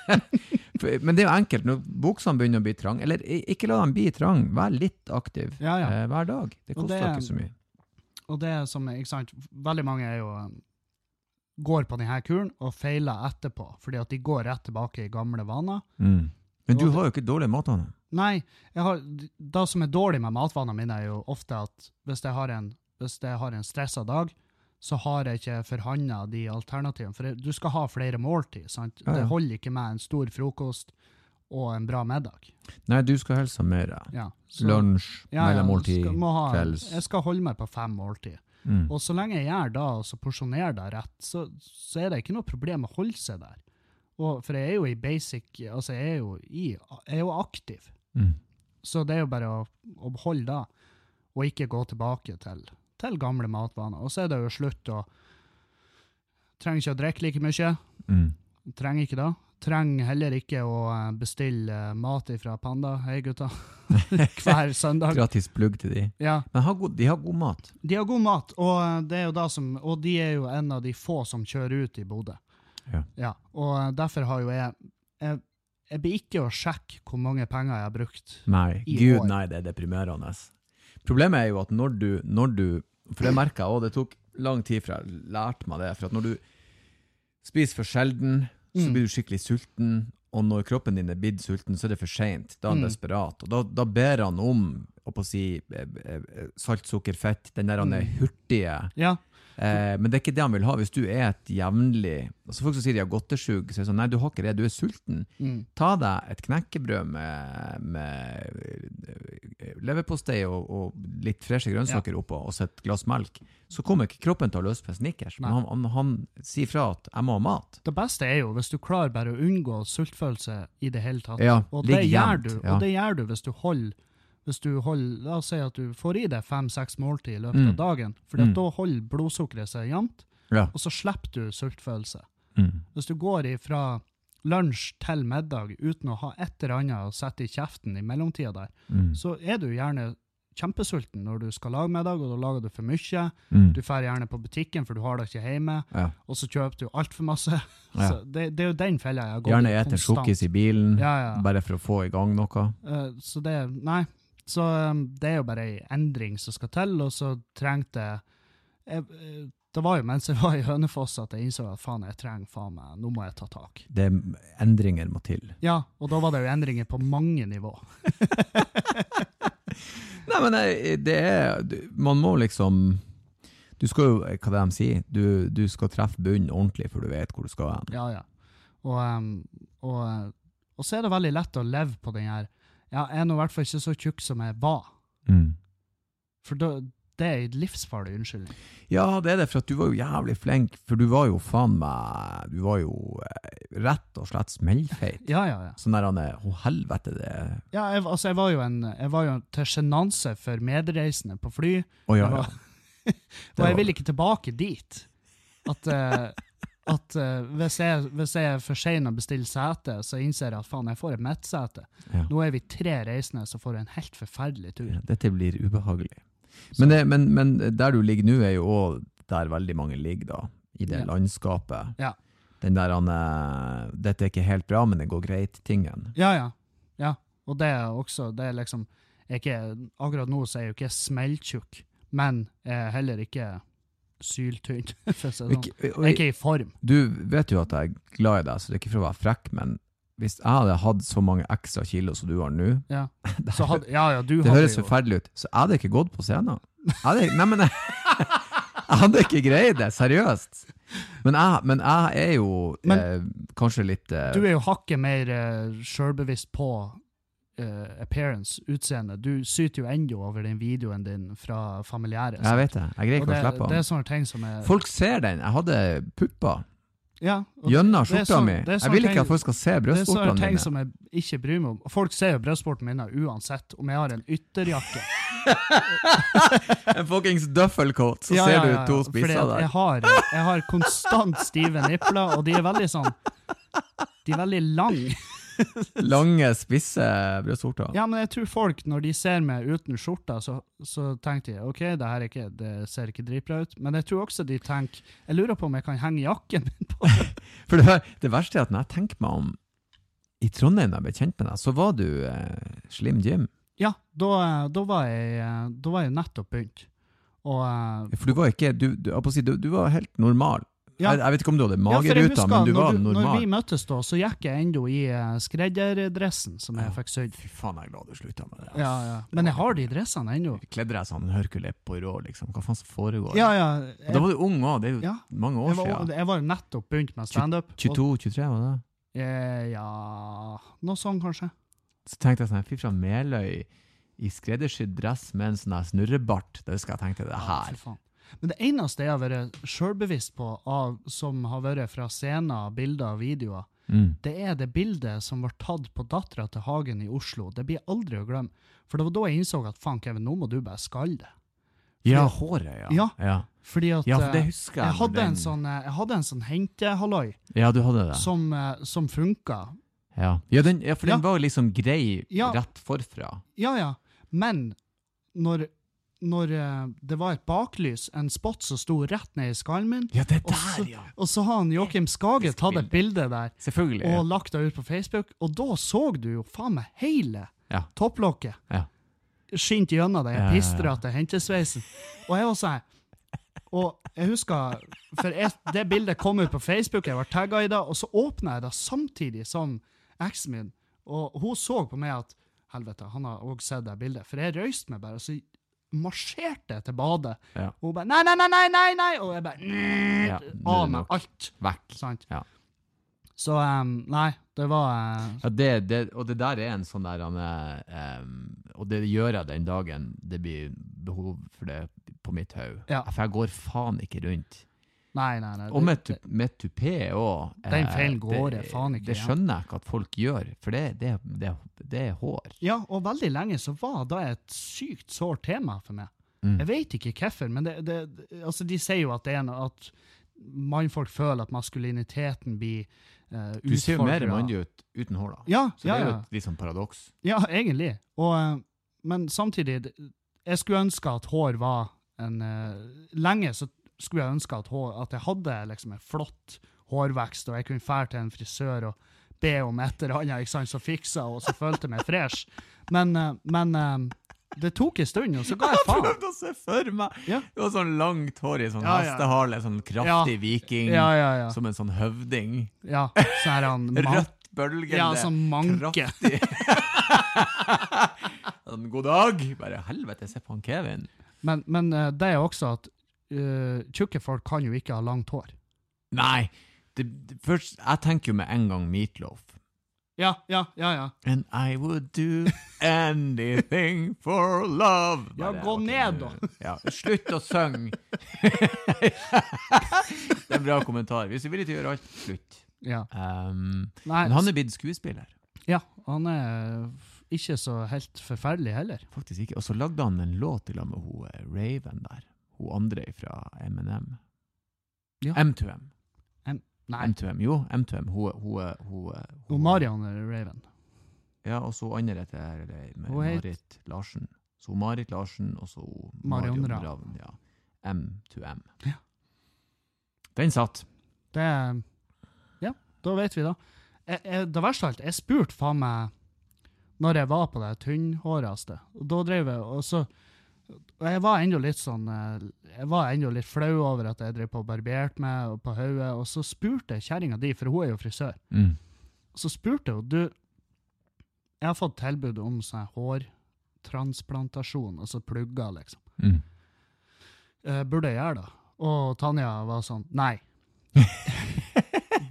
For- Men det er jo enkelt. Når buksene begynner å bli trang, eller i- ikke la dem bli trang, vær litt aktiv
Ja, ja.
eh, hver dag. Det
Og
koster
det-
ikke så mye.
Og det som er, ikke sant, veldig mange er jo um, går på denne kuren og feiler etterpå, fordi at de går rett tilbake i gamle vaner.
Mm. Men du
Og det-
har jo ikke dårlige matvaner.
Nei, jeg har, det som er dårlig med matvanene mine, er jo ofte at hvis jeg har en, hvis jeg har en stressa dag, så har jeg ikke forhandla de alternativene. For du skal ha flere måltid. sant?
Ja, ja.
Det holder ikke med en stor frokost og en bra middag.
Nei, du skal helst ha mer. ja.
Ja, så-
Lunsj,
Ja, ja,
mellommåltid,
skal- må ha-
kvelds.
Jeg skal holde meg på fem måltid.
Mm.
Og så lenge jeg gjør det, og så porsjonerer det rett, så, så er det ikke noe problem å holde seg der. Og, for jeg er jo i basic Altså, jeg er jo, i, jeg er jo aktiv.
Mm.
Så det er jo bare å, å holde det, og ikke gå tilbake til, til gamle matvaner. Og så er det jo slutt å Trenger ikke å drikke like mye.
Mm.
Trenger ikke det. Trenger heller ikke å eh, bestille eh, mat ifra Panda. Hei, gutta. hver søndag.
Gratis plugg til de.
Ja.
Men har god, de har god mat.
De har god mat, og, eh, det er jo da som, og de er jo en av de få som kjører ut i Bodø.
Ja.
Og eh, derfor har jo jeg Jeg, jeg blir ikke å sjekke hvor mange penger jeg har brukt.
Nei,
I
gud
år.
nei, det er deprimerende. Problemet er jo at når du, når du For det merka jeg òg, det tok lang tid fra jeg lærte meg det. For at når du spiser for sjelden, så
Mm.
blir du skikkelig sulten. Og når kroppen din er blitt sulten, så er det for seint. Da er han
Mm.
desperat. Og da, da ber han om å på å si, eh, eh, salt, sukker, fett. Den der han er
Mm.
hurtige
Ja.
Eh, men det er ikke det han vil ha. Hvis du er et jevnlig altså Folk som sier de har godtesug, så er det sånn Nei, du har ikke det, du er sulten.
Mm.
Ta deg et knekkebrød med, med eh, leverpostei og, og litt freshe grønnsaker oppå, og så et glass melk. Så kommer ikke kroppen til å løse på snickers. Men han, han, han sier fra at 'jeg må ha mat'.
Det beste er jo hvis du klarer bare å unngå sultfølelse i det hele tatt.
Ja,
og, det
ligg
gjør
jevnt,
du,
ja.
og det gjør du hvis du holder hvis du holder, La oss si at du får i deg fem-seks måltid i løpet av
Mm.
dagen. For at
Mm.
da holder blodsukkeret seg jevnt,
Ja.
og så slipper du sultfølelse.
Mm.
Hvis du går fra lunsj til middag uten å ha et eller annet å sette i kjeften i mellomtida der,
Mm.
så er du gjerne kjempesulten når du skal lage middag, og da lager du for mye.
Mm.
Du drar gjerne på butikken, for du har det ikke hjemme,
Ja.
og så kjøper du altfor masse.
Ja.
Så det, det er jo den fella jeg har gått
Gjerne
i
et en
konstant.
sjokkis i bilen,
Ja, ja.
bare for å få i gang noe.
Eh, så det Nei. Så um, det er jo bare ei endring som skal til, og så trengte jeg jeg- eh, Det var jo mens jeg var i Hønefoss at jeg innså at faen, jeg trenger faen meg, nå må jeg ta tak.
Det er endringer må til.
Ja, og da var det jo endringer på mange nivå.
Nei, men eh, det er du- Man må liksom Du skal jo, eh, hva det er de sier, du, du skal treffe bunnen ordentlig før du vet hvor du skal hen.
Ja, ja. Og, em, og, eh, og så er det veldig lett å leve på den her Ja, jeg er nå i hvert fall ikke så tjukk som jeg var.
Mm.
For da, det er en livsfarlig unnskyldning.
Ja, det er det, for at du var jo jævlig flink, for du var jo faen meg Du var jo eh, rett og slett smellfeit.
Ja, ja, ja.
Sånn der han er Å, helvete, det er
ja jeg, altså, jeg var jo, en, jeg var jo til sjenanse for medreisende på fly.
Å, ja,
Jeg
ja.
var-
Det
og jeg
var-
vil ikke tilbake dit. At, eh, at eh, hvis, jeg, hvis jeg er for sein å bestille sete, så innser jeg at faen, jeg får et midtsete.
Ja.
Nå er vi tre reisende som får en helt forferdelig tur.
Dette blir ubehagelig. Men, det, men, men der du ligger nå, er jo òg der veldig mange ligger, da. I det
Ja.
landskapet.
Ja.
Den der han eh, 'Dette er ikke helt bra, men det går greit'-tingen.
Ja, ja. ja. Og det er også det er liksom jeg er ikke, Akkurat nå så er jeg jo ikke smelltjukk, men jeg er heller ikke syltynn. for å si det sånn.
Ikke- og-
Jeg er ikke i form.
Du vet jo at jeg er glad i deg, så det er ikke for å være frekk, men hvis jeg hadde hatt så mange ekstra kilo som du har nå
Ja.
det,
Så hadde, ja, ja, du
det
hadde
høres
jo
forferdelig ut. Så jeg hadde ikke gått på scenen. Jeg hadde, nei, men jeg, jeg hadde ikke greid det, seriøst. Men jeg, men jeg er jo
Men-
eh, kanskje litt eh,
Du er jo hakket mer uh, sjølbevisst på eh, appearance, utseende. Du syter jo ennå over den videoen din fra familiære.
Jeg vet det. Jeg greier
og
ikke
det,
å slippe
det
den.
er sånne ting som er
Folk ser den. Jeg hadde pupper
ja, og
gjennom
det er
skjorta
sånn-
mi.
det er sånne
Jeg vil
ting-
ikke at folk skal se
Det er sånne
brystvortene
ting
mine.
som jeg ikke bryr meg om. Folk ser jo brystvortene mine uansett, om jeg har en ytterjakke.
En fuckings duffelcoat, så
Ja, ja,
ser
ja,
du to
ja, fordi
spisser
at Jeg
der.
har, jeg har konstant stive nipler, og de er veldig sånn De er veldig lange.
Lange, spisse brystvorter.
Ja, men jeg tror folk, når de ser meg uten skjorta, så, så tenker de OK, det her er ikke, det ser ikke dritbra ut, men jeg tror også de tenker Jeg lurer på om jeg kan henge jakken min på.
For det, det verste er at når jeg tenker meg om I Trondheim da jeg ble kjent med deg, så var du eh, Slim Jim.
Ja, da, da, var jeg, eh, da var jeg nettopp begynt. Og eh,
For du var ikke Du, du, jeg holdt på å si, du, du var helt normal.
Ja.
Jeg, jeg vet ikke om du hadde
ja, for jeg
mageruta,
husker
men du
når
var
Når vi
normal.
møttes da, så gikk jeg ennå i eh, skredderdressen som jeg
Ja.
fikk sydd.
Fy faen, jeg er glad du slutta med det. ass.
Ja, ja. Men jeg har de dressene ennå.
Kledde deg sånn Hercules på rå, liksom. Hva faen som foregår?
Ja, ja.
Og Da var du ung òg, det er jo
Ja.
mange år
Jeg var,
siden.
jeg var nettopp begynt med standup. og-
22-23 var det?
Eh, Ja Noe sånn, kanskje.
Så tenkte jeg sånn, fy fra Meløy i skreddersydd dress med en sånn her snurrebart. Det husker jeg tenkte, det
Ja,
her.
fy faen. Men det eneste jeg har vært sjølbevisst på, av, som har vært fra scener, bilder og videoer,
Mm.
det er det bildet som ble tatt på dattera til Hagen i Oslo. Det blir jeg aldri å glemme. For det var da jeg innså at faen, Kevin, nå må du bare skalle det.
Ja, håret, ja.
Ja.
ja.
Fordi at
Ja, for det
eh,
husker jeg.
jeg hadde
når
en
den-
sånn, eh, jeg hadde en sånn hentehalloi
Ja, du hadde det.
som, eh, som funka.
Ja, ja, den, ja for den
Ja.
var liksom grei
Ja.
rett forfra.
Ja, ja. Men når, når eh, det var et baklys, en spot som sto rett ned i skallen min,
Ja, det
og så, og så har han Joakim Skage
Faktisk
tatt et bilde der
Selvfølgelig.
og lagt det ut på Facebook, og da så du jo faen meg hele
Ja.
topplokket
Ja.
skint gjennom den
Ja, ja, ja.
pistrete hentesveisen. Og jeg var sånn Og jeg husker For jeg, det bildet kom ut på Facebook, jeg var tagga i det, og så åpna jeg det samtidig som eksen min, og hun så på meg at Helvete, han har òg sett det bildet. For jeg røyste meg bare, og så marsjerte jeg til badet.
Ja.
Og hun bare Nei, nei, nei, nei, nei! nei, Og jeg bare
Ja, nå er
Av
det
meg
nok.
alt.
Vekk.
Sant?
Ja.
Så em, Nei, det var eh,
Ja, det, det, og det der er en sånn der han, eh, em, Og det gjør jeg den dagen det blir behov for det på mitt hode.
Ja.
For jeg går faen ikke rundt.
Nei, nei, nei.
Og
det-
med, tu- med tupé òg.
Den feilen går jeg faen ikke
Det
igjen.
skjønner jeg ikke at folk gjør, for det, det, det, det er hår.
Ja, og veldig lenge så var det et sykt sårt tema for meg.
Mm.
Jeg vet ikke hvorfor, men det, det, altså de sier jo at det er noe at mannfolk føler at maskuliniteten blir uh,
Du ser jo mer mandig ut uten hår, da.
Ja, ja,
Så det er
ja,
jo et litt sånn paradoks.
ja, egentlig. Og, eh, men samtidig, det- jeg skulle ønske at hår var en eh, Lenge så skulle jeg ønske at, hår, at jeg hadde liksom en flott hårvekst, og jeg kunne fære til en frisør og be om et eller annet, ikke sant, som fiksa, og så følte jeg meg fresh. Men, eh, men eh, det tok en stund, og så ga jeg faen.
å se for meg
Ja.
Det var sånn langt hår i sånn
Ja, ja.
hestehale, sånn kraftig viking,
Ja, ja, ja.
som en sånn høvding.
ja sånn her han man,
Rødt bølgende.
Ja, sånn manke.
Kraftig. Sånn, God dag! Bare helvete, se på han Kevin.
Men, men eh, det er også at eh, tjukke folk kan jo ikke ha langt hår.
Nei! Det, det, først, jeg tenker jo med en gang Meatloaf.
Ja, ja, ja. ja.
And I would do anything for love.
Ja,
Bare,
gå
ok,
ned, da.
nå- Ja, slutt å synge! det er en bra kommentar. Hvis du vil ikke gjøre alt, slutt.
ja.
Um,
Nei,
men han er blitt skuespiller.
Ja, han er ikke så helt forferdelig heller.
Faktisk ikke. Og så lagde han en låt til med hun eh, Raven der. Hun andre fra M&M.
Ja.
M2M.
Nei,
M2M, jo. M2M. Hun, hun, hun, hun,
og Marion er Raven.
Ja, og så andre heter det her, det- med
Hun het-
Marit Larsen. Så hun Marit Larsen, og så hun
Marion
Marion
Ravn.
Ravn. Ja. M2M.
Ja.
Den satt.
Det er Ja, da vet vi da. Jeg, jeg, det verste av alt, jeg spurte faen meg når jeg var på det tynnhåreste. Og da drev jeg og så og jeg var ennå litt sånn eh, Jeg var ennå litt flau over at jeg drev på og barberte meg og på hodet, og så spurte jeg kjerringa di, for hun er jo frisør,
Mm.
så spurte jeg henne du, jeg har fått tilbud om sånn hårtransplantasjon, altså plugger, liksom.
Mm.
Eh, burde jeg gjøre det? Og Tanja var sånn, nei.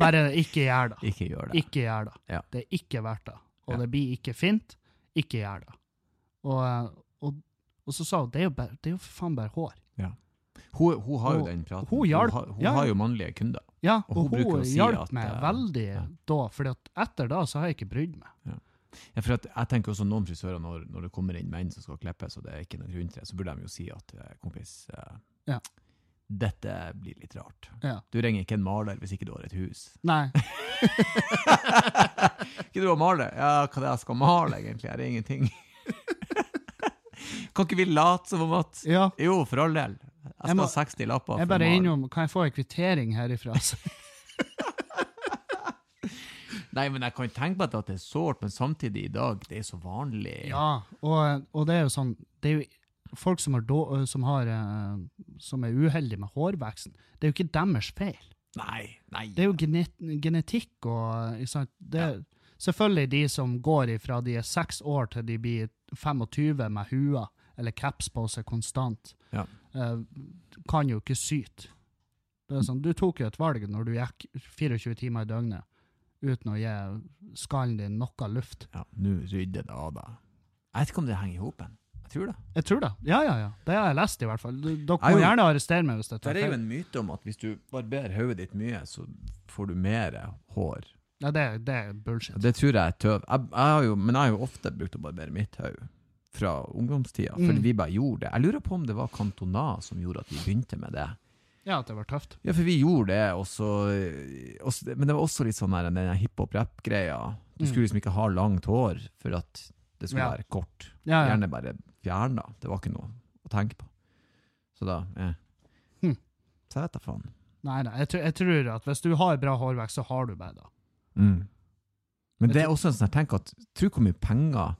Bare ikke gjør det.
Ikke gjør det.
Ikke gjør det.
Ja.
Det er ikke verdt det. Og
Ja.
det blir ikke fint. Ikke gjør det. Og, eh, og, og så sa hun, det er jo, bare, det er jo for faen bare hår.
Hun, hun har jo
Hun-
den praten.
hun hjalp-
har- hun
ja, ja.
har jo mannlige kunder.
Ja, og,
Og hun bruker
hun,
å si
hjalp
at,
meg
eh,
veldig
ja.
da, for etter da så har jeg ikke brydd meg.
Ja, for at jeg tenker også noen frisører, når, når det kommer inn menn som skal klippes, og det er ikke noen grunn til det, så burde de jo si at eh, kompis, eh,
Ja.
dette blir litt rart.
Ja.
Du ringer ikke en maler hvis ikke du har et hus.
Nei,
ikke du har maler? Ja, hva er det jeg skal male egentlig? Er det ingenting? kan ikke vi late som om at
ja.
Jo, for all del. Jeg skal
Jeg må-
ha 60 lapper
Jeg
for å
bare
male.
er innom, kan jeg få en kvittering herifra? Så-
Nei, men jeg kan tenke på at det er sårt, men samtidig i dag, det er så vanlig.
Ja, og, og det er jo sånn det er jo Folk som, har då, som, har, eh, som er uheldige med hårveksten, det er jo ikke deres feil.
Nei, nei.
Det er jo genet, genetikk og eh, ikke sant? Det, Selvfølgelig de som går ifra de er seks år til de blir 25 med hua eller caps på seg konstant,
Ja.
eh, kan jo ikke syte. Det er sånn, du tok jo et valg når du gikk 24 timer i døgnet uten å gi skallen din noe luft.
Ja, nå rydder det av deg. Jeg vet ikke om det henger i hop. Jeg tror det.
Jeg tror det. Ja, ja, ja. Det har jeg lest, i hvert fall. D- Dere
Jeg
må
jo-
gjerne arrestere meg hvis det
Det
tar
er jo
feil.
en myte om at hvis du barberer hodet ditt mye, så får du mer hår.
Ja, det, er- det er bullshit.
Det tror jeg er tøv. Jeg, jeg har jo, men jeg har jo ofte brukt å barbere mitt hode fra ungdomstida, fordi
Mm.
vi bare gjorde det. Jeg lurer på om det var Cantona som gjorde at vi begynte med det.
Ja, at det var tøft.
Ja, for vi gjorde det, og så og så- Men det var også litt sånn her, den hiphop-rap-greia Du skulle liksom ikke ha langt hår for at det skulle
Mm. Ja.
være kort.
Ja, ja.
Gjerne bare fjern, da. Det var ikke noe å tenke på. Så da eh.
Hm.
Så jeg vet da faen.
Nei, nei, jeg, tr- jeg tror at hvis du har bra hårvekst, så har du bare det.
Mm. Men
Jeg
det er også en sånn jeg tenker at Tro hvor mye penger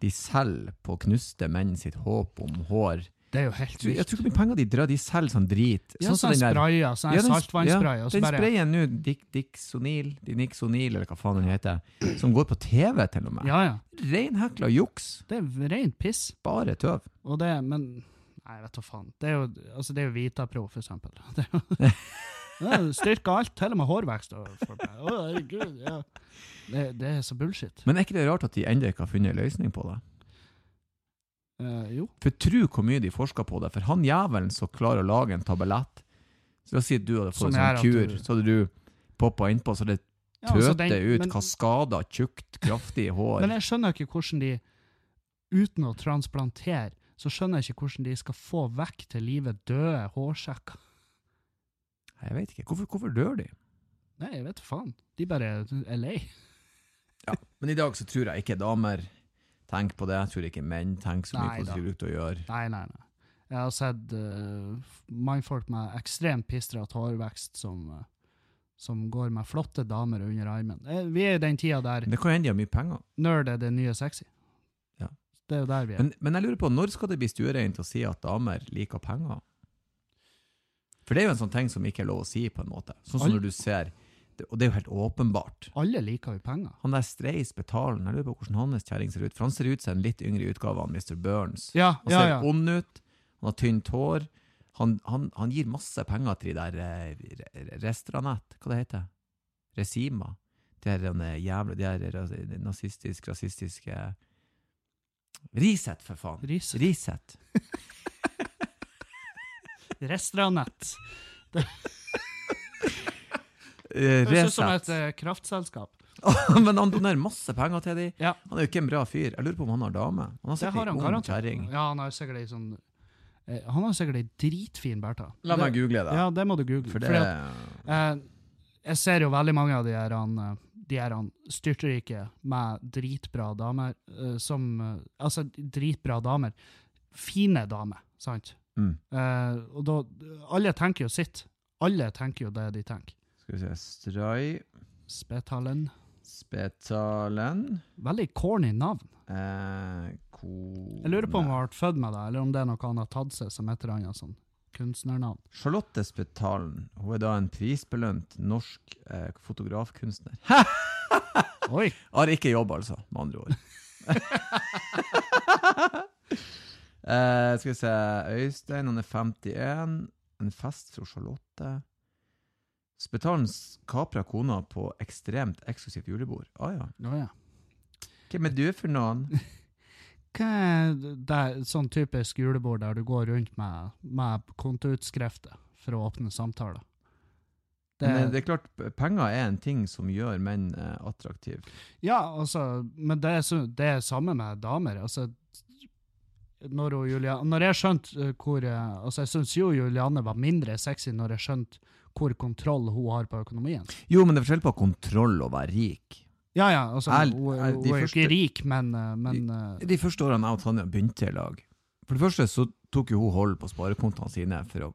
de selger på å knuste menn sitt håp om hår.
Det er jo helt
Tror- Jeg
vilt.
tror ikke hvor mye penger de drar. De selger sånn drit.
Ja,
som
sånn sprayer, sånn
Ja, den-
saltvannsprayer,
ja,
og så
den
bare
sprayen nå, Dick, Dixonil, de Nixonil, eller hva faen den heter, som går på TV til og med.
Ja, ja.
Reinhekla juks.
Det er rent piss.
Bare tøv.
Og det, men Nei, vet du faen. Det er jo, altså, det er jo Vitapro, for eksempel. Det er jo, det er jo styrker alt, til og med hårvekst. Og, for, å, herregud, ja. det, det er så bullshit.
Men er ikke det rart at de ennå ikke har funnet en løsning på det?
Eh, jo.
For tro hvor mye de forsker på det. For han jævelen som klarer å lage en tabellett Så La oss si at du hadde
Som
fått en sånn
gjør
kur,
at du-
så hadde du poppa innpå, så det
Ja, altså,
tøter
den-
ut
men-
kaskader, tjukt, kraftig hår.
Men jeg skjønner ikke hvordan de, uten å transplantere, så skjønner jeg ikke hvordan de skal få vekk til livet døde hårsekker.
Nei, Jeg vet ikke. Hvorfor, hvorfor dør de?
Nei, jeg vet da faen. De bare er lei.
Men i dag så tror jeg ikke damer tenker på det. Jeg tror ikke menn tenker så mye
Nei
på det
da.
de brukte å gjøre.
Nei, nei, nei. Jeg har sett eh, f- mannfolk med ekstremt pistrete hårvekst som, eh, som går med flotte damer under armen. Eh, vi er i den tida der
Men det kan hende de har mye penger.
nerd er det nye sexy.
Ja.
Det er jo der vi er.
Men, men jeg lurer på, når skal det bli stuereint å si at damer liker penger? For det er jo en sånn ting som ikke er lov å si, på en måte. Sånn som
Al-
når du ser, det, og det er jo helt åpenbart.
Alle liker jo penger.
Han der Streis Betalen, jeg lurer på hvordan hans kjerring ser ut. For han ser ut som en litt yngre utgave av Mr. Burns.
Ja,
Han
ja,
ser
ja.
ond ut, han har tynt hår. Han, han, han gir masse penger til de der eh, Restranett, hva det heter? Resima. De her eh, jævla, de her ras- nazistisk, rasistiske Riset, for faen!
Ris.
Riset.
Restranett.
Eh,
Det høres ut som et
Resett.
eh, kraftselskap.
Men han donerer masse penger til de.
Ja.
Han er jo ikke en bra fyr. Jeg lurer på om han har dame. Han har
Det har
sikkert
han
en ung
garantert.
kjerring.
Ja, han har sikkert ei sånn eh, Han har sikkert ei dritfin Bertha.
La meg google det.
Ja, det må du google.
for det
Fordi at Eh, jeg ser jo veldig mange av de her, han, eh, de her han styrtrike med dritbra damer eh, som eh, Altså, dritbra damer. Fine damer, sant?
mm.
Eh, og da Alle tenker jo sitt. Alle tenker jo det de tenker.
Skal vi se Stray
Spetalen.
Spetalen
Veldig corny navn.
eh, kone.
Jeg lurer på om hun ble født med det, eller om det er noe han har tatt seg som et eller annet sånn kunstnernavn.
Charlotte Spetalen. Hun er da en prisbelønt norsk eh, fotografkunstner.
Oi!
Har ikke jobb, altså, med andre ord. eh, skal vi se Øystein, han er 51. En fest fra Charlotte. Spetalen kapra kona på ekstremt eksklusivt julebord. Å ah, ja.
Å ja.
Hvem er du for noen?
Hva er det sånn typisk julebord der du går rundt med, med kontoutskrifter for å åpne samtaler? Det,
Men, eh, det er klart, p- penger er en ting som gjør menn eh, attraktive.
ja, altså, men det er, så, det er samme med damer. Altså, når, hun, Julia, når jeg skjønte eh, hvor eh, altså, Jeg syns jo Julianne var mindre sexy når jeg skjønte hvor kontroll hun har på økonomien.
Jo, men det er forskjell på kontroll og å være rik.
Ja, ja, altså,
Er-
hun,
er
hun er jo
de
ikke
første-
rik, men, eh, men eh,
De første årene jeg og Tanja begynte i lag For det første så tok jo hun hold på sparekontoene sine For å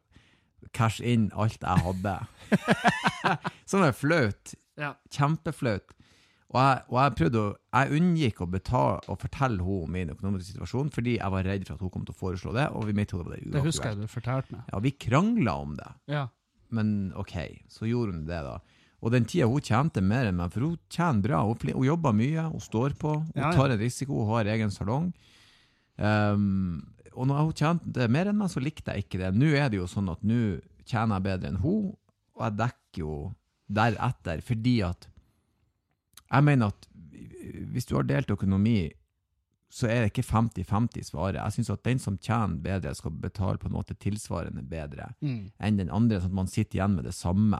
cash inn alt jeg hadde Sånn er flaut
ja.
Kjempeflaut og jeg, og jeg prøvde å Jeg unngikk å betale Og fortelle henne om min økonomiske situasjon Fordi jeg var redd for at hun kom til å foreslå det Og vi mitt hode var det
Det husker
uaktuelt.
jeg du fortalte meg.
Ja, vi kranglet om det
Ja.
men ok, så gjorde hun det da. Og den tida hun tjente mer enn meg, for hun tjener bra, hun, fli- hun jobber mye, hun står på, hun
Ja, ja.
tar en risiko, hun har egen salong. Ehm, og når hun tjente mer enn meg, så likte jeg ikke det. Nå er det jo sånn at nå tjener jeg bedre enn hun, og jeg dekker jo deretter, fordi at jeg mener at hvis du har delt økonomi, så er det ikke 50-50 svaret. Jeg synes at den som tjener bedre skal betale på en måte tilsvarende bedre
Mm.
enn den andre, sånn at man sitter igjen med det samme.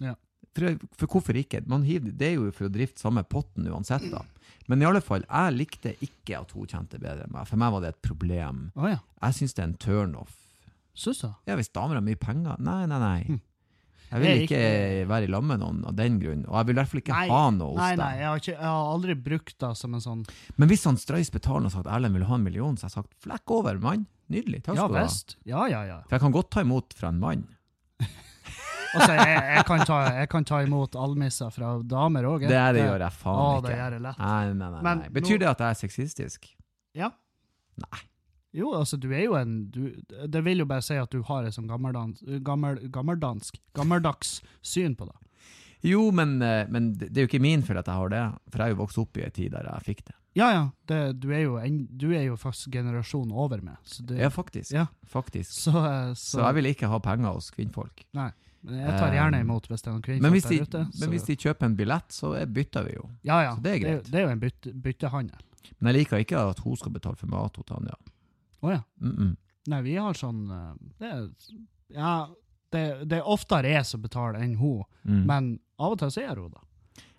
Ja.
For, for hvorfor ikke? Man hiver, det er jo for å drifte samme potten uansett, da. Men i alle fall, jeg likte ikke at hun tjente bedre enn meg. For meg var det et problem.
Å ja.
Jeg syns det er en turnoff.
Syns du?
Ja, hvis damer har mye penger Nei, nei, nei. Jeg vil
Hm. Det er
ikke være i lag med noen av den grunn, og jeg vil i hvert fall ikke
Nei,
ha noe hos
Nei, nei,
deg.
jeg har, ikke, jeg har aldri brukt det som en sånn
Men hvis han Strøys betaler og sagt Erlend vil ha en million, så har jeg sagt flekk over, mann. Nydelig. Takk
Ja
skal du ha.
visst. Ja, ja, ja.
For jeg kan godt ta imot fra en mann.
Altså, jeg, jeg, kan ta, jeg kan ta imot almisser fra damer òg.
Det, er det gjør jeg faen
Å, det
ikke.
gjør jeg lett.
Nei, nei, nei, nei.
Men
Betyr
nå-
det at jeg er sexistisk?
Ja.
Nei.
Jo, altså, du er jo en du, Det vil jo bare si at du har et sånn gammeldans, gammel, gammeldansk, gammeldags syn på det.
Jo, men, eh, men det det er jo ikke min feil at jeg har det, for jeg er jo vokst opp i ei tid der jeg fikk det.
Ja, ja. Det, du, er jo en, du er jo faktisk generasjon over meg. Så, det,
Ja, faktisk.
Ja.
faktisk.
så, eh, så,
Så jeg vil ikke ha penger hos kvinnfolk.
Men jeg tar gjerne
Um,
imot hvis det er noen
Men
kvinner
hvis, de,
der ute.
men hvis de kjøper en billett, så er- bytter vi jo.
ja, ja,
så det er greit.
Det, er jo en bytte, byttehandel.
Men jeg liker ikke at hun skal betale for mat hos Tanja.
Å ja.
Mm -mm.
Nei, vi har sånn eh, det, er- Ja, det, det er oftere jeg som betaler enn hun,
Mm.
men av og til så er hun det.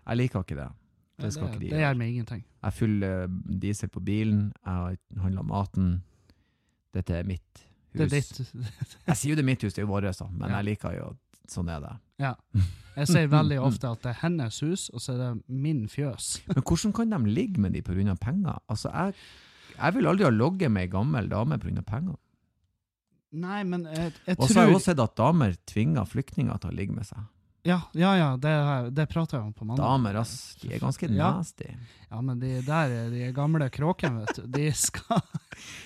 Jeg liker ikke det.
Ja,
Det skal ikke de
det
gjøre.
gjør meg ingenting.
Jeg fyller eh, diesel på bilen, jeg handler maten. Dette er mitt hus.
Det er ditt.
Jeg sier jo det er mitt hus, det er jo vårt, da, men
Ja.
jeg liker jo at sånn er det.
Jeg sier veldig ofte at det er hennes hus, og så er det min fjøs.
Men hvordan kan de ligge med de pga. penger? Altså, jeg, jeg vil aldri ha ligget med ei gammel dame pga. penger.
Nei, men jeg, jeg
Og så har jeg
tror
også sett at damer tvinger flyktninger til å ligge med seg.
Ja, ja, ja det, har- det prater jeg om på mandag.
Damer, ass, de er ganske
Ja.
nasty.
Ja, men de der er de gamle kråkene, vet du. De, skal,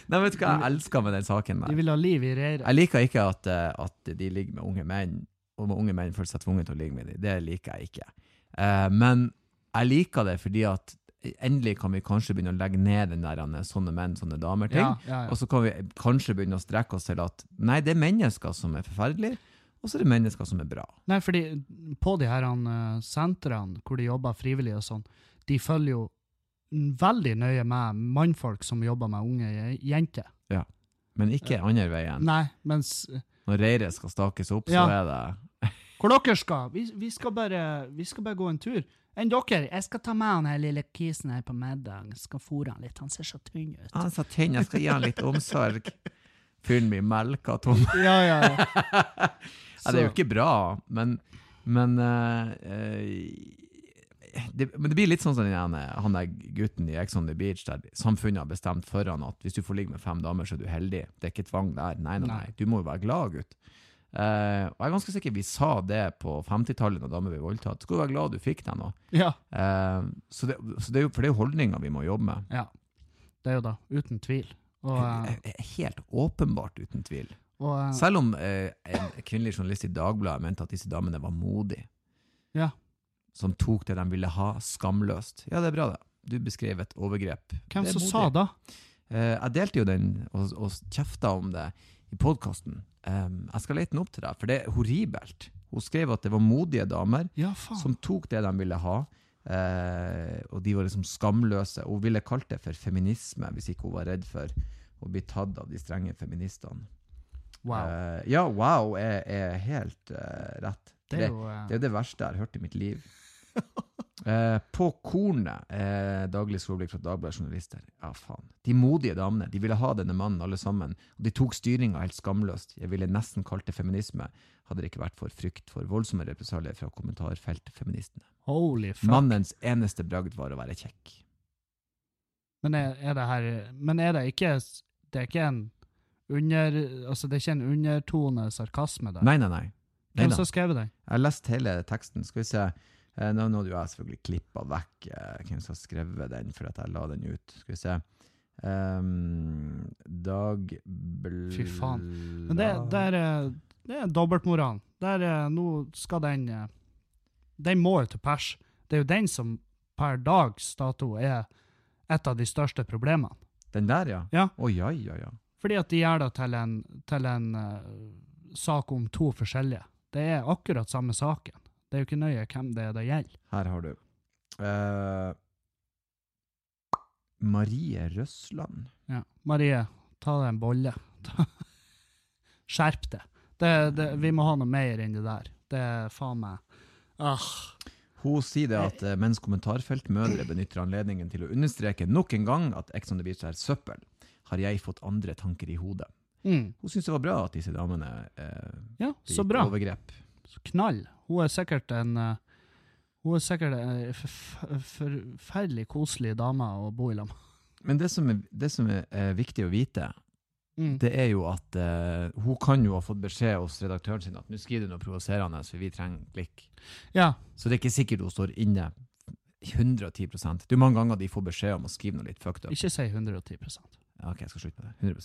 Nei, vet du hva jeg elsker med den saken
de
der?
vil ha liv i reiret.
Jeg liker ikke at, eh, at de ligger med unge menn, og unge menn føler seg tvunget til å ligge med dem. Det liker jeg ikke. Eh, men jeg liker det fordi at endelig kan vi kanskje begynne å legge ned den der eh, sånne menn, sånne damer-ting.
Ja, ja, ja.
Og så kan vi kanskje begynne å strekke oss til at nei, det er mennesker som er forferdelige, og så er det mennesker som er bra.
Nei, fordi på de her eh, sentrene hvor de jobber frivillig og sånn, de følger jo veldig nøye med mannfolk som jobber med unge je- jenter.
Men ikke andre veien.
Nei, mens
Når reiret skal stakes opp, så
Ja.
er det
Hvor dere skal? Vi, vi, skal bare, vi skal bare gå en tur. Enn dere? Jeg skal ta med han her lille kisen her på middag. Skal fôre han litt. Han ser så tynn ut.
Han sa tynn, «Ah, jeg skal gi han litt omsorg. Fyren blir melka tom.
Ja, ja, ja.
Ja, det er jo ikke bra, men Men, eh, eh, det, men det blir litt sånn som den ene, han der gutten i Ex on the Beach, der samfunnet har bestemt for han at hvis du får ligge med fem damer, så er du heldig. Det er ikke tvang der. Nei, nei, nei.
Nei.
Du må jo være glad, gutt. Eh, og jeg er ganske sikker vi sa det på 50-tallet når damer ble voldtatt. Skal du være glad du fikk deg noe?
Ja,
Eh, så det, så det er jo, for det er jo holdninger vi må jobbe med.
ja. Det er jo da, uten tvil. Og, eh,
Eh, Helt åpenbart, uten tvil.
og eh,
Selv om eh, en kvinnelig journalist i Dagbladet mente at disse damene var modige,
Ja.
som tok det de ville ha, skamløst. Ja, det er bra, det. Du beskrev et overgrep.
hvem
det er
som
modig.
sa da?
Eh, jeg delte jo den og, og kjefta om det i podkasten. jeg skal lete den opp til deg, for det er horribelt. Hun skrev at det var modige damer
Ja, faen.
som tok det de ville ha, eh, og de var liksom skamløse. Hun ville kalt det for feminisme, hvis ikke hun var redd for å bli tatt av de strenge feministene.
Wow.
Eh, ja, wow er, er helt eh, rett.
Det er jo eh,
det er det verste jeg har hørt i mitt liv. Eh, på Kornet, eh, daglig skråblikk fra Dagbladet Journalister. Ja, faen. De modige damene. De ville ha denne mannen, alle sammen. Og de tok styringa helt skamløst. Jeg ville nesten kalt det feminisme, hadde det ikke vært for frykt for voldsomme represalier fra kommentarfeltfeministene.
Holy fuck.
Mannens eneste bragd var å være kjekk.
Men er, er det her Men er det ikke Det er ikke en under... Altså, det er ikke en undertone sarkasme der?
Nei, nei, nei. nei,
Hvem
nei.
som skrev den?
Jeg har lest hele teksten. Skal vi se. Eh, Nå nå hadde jo jeg selvfølgelig klippa vekk eh, hvem som har skrevet den, for at jeg la den ut. Skal vi se. Um, Dag Bl...
Fy faen. Men det, der, eh, det er dobbeltmoral. Der, eh, nå skal den eh, Den må jo til pers. Det er jo den som per dags dato er et av de største problemene.
Den der, ja?
Ja.
Å ja, ja, ja.
Fordi at de gjør det til en, til en eh, sak om to forskjellige. Det er akkurat samme saken. Det er jo ikke nøye hvem det er det gjelder.
Her har du. Eh, Marie Røsland.
Ja. Marie, ta deg en bolle. Ta- Skjerp deg. Det, det, vi må ha noe mer enn det der. Det er faen meg ah.
Hun sier det at eh, mens kommentarfeltmødre benytter anledningen til å understreke nok en gang at Ex on the Beach er søppel, har jeg fått andre tanker i hodet.
mm.
Hun syns det var bra at disse damene eh,
Ja,
begitt
så bra.
overgrep.
knall. Hun er sikkert en eh, hun er sikkert ei forf- forferdelig koselig dame å bo i lag med.
Men det som, er, det som er, eh, viktig å vite,
Mm.
det er jo at eh, hun kan jo ha fått beskjed hos redaktøren sin at nå skriver du noe provoserende, for vi trenger klikk.
Ja.
Så det er ikke sikkert hun står inne 110 Det er jo mange ganger de får beskjed om å skrive noe litt fucked up.
Ikke si 110
Ja, ok, jeg skal slutte med det. 100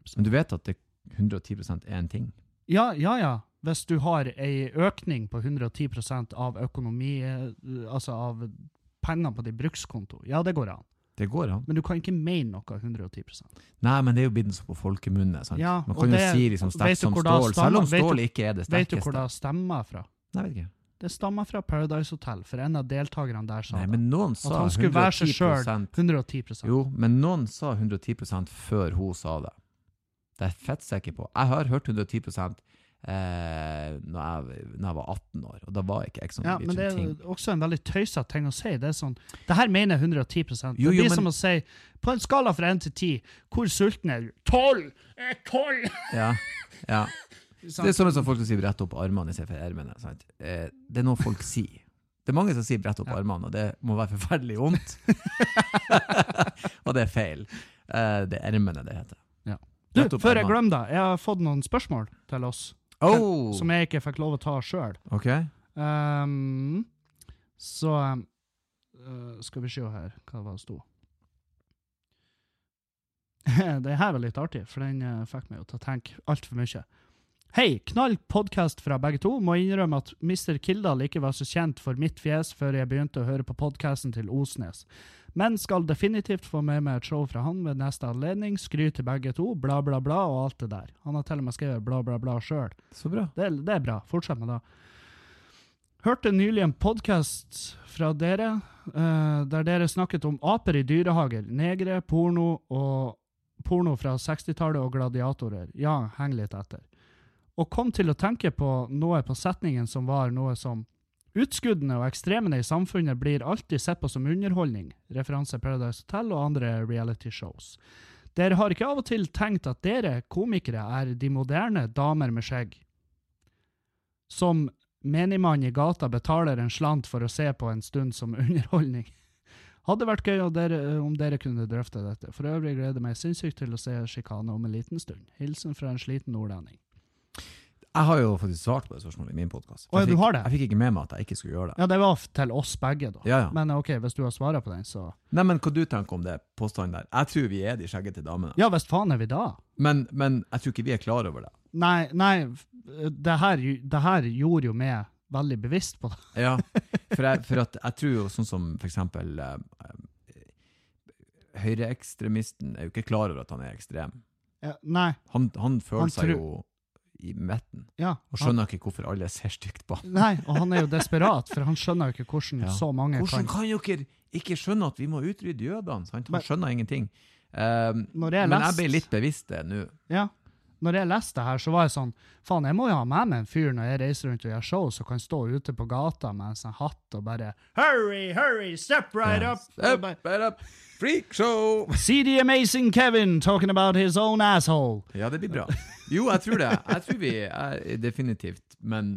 100%.
Men du vet at det 110 er en ting?
Ja, ja, ja. Hvis du har ei økning på 110 av økonomi, eh, altså av penger på din brukskonto, ja, det går an.
Det går an.
Men du kan ikke mene noe 110
Nei, men det er jo blitt så på folkemunne. sant?
Ja,
Man
og
kan jo
det-
si liksom
vet
sterkt
du
som
hvor det
stål,
stammer-
selv om
vet du-
stål ikke er det
Vet du hvor
sterkeste.
det stemmer fra?
Nei, vet ikke.
Det stammer fra Paradise Hotel, for en av deltakerne der sa
Nei,
det.
men noen
At
sa
han skulle være seg sjøl
110
110
Jo, men noen sa 110 før hun sa det. Det er jeg fett sikker på. Jeg har hørt 110 eh, når, jeg, når jeg var 18 år, og da var ikke Ex on
Ja,
the
men
Beach
det
en sånn ting.
er også en veldig tøysete ting å si. Det er sånn, det her mener jeg 110
Jo,
Det
jo,
blir
men-
som å si, på en skala fra 1 til 10, hvor sulten er du? 12! Jeg er 12!
Ja, ja.
Sånn.
Det er sånn som folk som sier 'brett opp armene' i stedet for ermene. Sant? Eh, det er noe folk sier. Det er mange som sier 'brett opp
Ja.
armene', og det må være forferdelig vondt. og det er feil. Eh, det er ermene det heter.
Ja. Du,
Brett opp
før jeg
armene.
glemmer det, jeg har fått noen spørsmål til oss,
Oh!
som jeg ikke fikk lov å ta sjøl.
Ok.
Um, så um, uh, skal vi se her hva var det sto. det her var litt artig, for den uh, fikk meg jo til å tenke altfor mye. Hei, knall podkast fra begge to. Må innrømme at Mr. Kildahl ikke var så kjent for mitt fjes før jeg begynte å høre på podkasten til Osnes. Men skal definitivt få med meg et show fra han ved neste anledning. Skryt til begge to, bla, bla, bla og alt det der. Han har til og med skrevet bla, bla, bla sjøl.
Så bra.
Det, er- det er bra. Fortsett med det. Hørte nylig en podkast fra dere eh, der dere snakket om aper i dyrehager, negre, porno og porno fra 60-tallet og gladiatorer. Ja, heng litt etter. Og kom til å tenke på noe på setningen som var noe som Utskuddene og ekstremene i samfunnet blir alltid sett på som underholdning, referanse Paradise Hotel og andre reality shows. Dere har ikke av og til tenkt at dere, komikere, er de moderne damer med skjegg som menigmann i gata betaler en slant for å se på en stund som underholdning. Hadde vært gøy om dere, om dere kunne drøfte dette. For øvrig gleder jeg meg sinnssykt til å se Sjikane om en liten stund. Hilsen fra en sliten nordlending.
Jeg har jo faktisk svart på det spørsmålet i min podkast.
Å, ja, du har det?
Jeg fikk ikke med meg at jeg ikke skulle gjøre det.
Ja, det var f- til oss begge, da.
Ja, ja.
Men ok, hvis du har svaret på den, så
Nei, men hva du tenker om det påstanden der? Jeg tror vi er de skjeggete damene.
Ja, visst faen er vi da?
Men, men jeg tror ikke vi er klar over det.
Nei, nei, f- det her, gj- det her gjorde jo meg veldig bevisst på det.
Ja, for jeg, for at jeg tror jo sånn som for eksempel eh, eh, Høyreekstremisten er jo ikke klar over at han er ekstrem.
Ja, nei,
Han, han føler
Han
seg
tror-
jo i midten,
ja.
og skjønner ikke hvorfor alle ser stygt på han.
Han, nei, og han er jo desperat, for han skjønner jo ikke hvordan
Ja.
så mange
Hvordan
kan
kan dere ikke skjønne at vi må utrydde jødene? Sant? Han
Men-
skjønner ingenting. Um,
Når jeg
men jeg
leste-
ble litt bevisst det nå.
Ja. Når jeg leste det her, så var jeg sånn Faen, jeg må jo ha med meg en fyr når jeg reiser rundt og gjør show, som kan stå ute på gata med en sånn hatt og bare Hurry, hurry, step right
Ja.
up!
Step
Og bare,
right up. Freak show!
See the amazing Kevin talking about his own asshole.
Ja, det blir bra. Jo, jeg tror det. Jeg tror vi er definitivt, men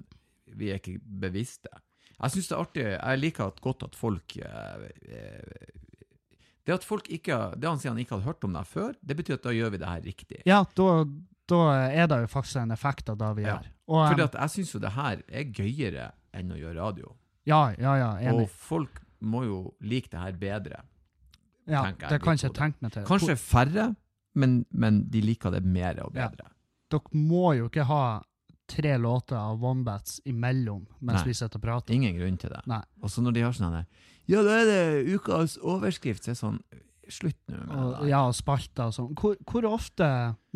vi er ikke bevisste. Jeg syns det er artig. Jeg liker at godt at folk eh, eh, Det at folk ikke Det han sier han ikke hadde hørt om deg før, det betyr at da gjør vi det her riktig.
Ja, da, da er det jo faktisk en effekt av det vi
Ja.
gjør. Og, um,
Fordi at jeg syns jo det her er gøyere enn å gjøre radio.
ja, ja, ja, enig.
Og folk må jo like det her bedre.
Ja,
tenker jeg
det kan
litt
ikke
på
jeg tenke meg til.
Kanskje færre, men, men de liker det mer og
Ja.
bedre.
Dere må jo ikke ha tre låter av Wombats imellom mens
Nei.
vi sitter og prater.
Ingen grunn til det.
Nei.
Og så når de har sånn her, Ja, da er det ukas overskrift, så er det sånn Slutt nå med det.
Og,
der.
ja, og spalter og sånn. Hvor, hvor ofte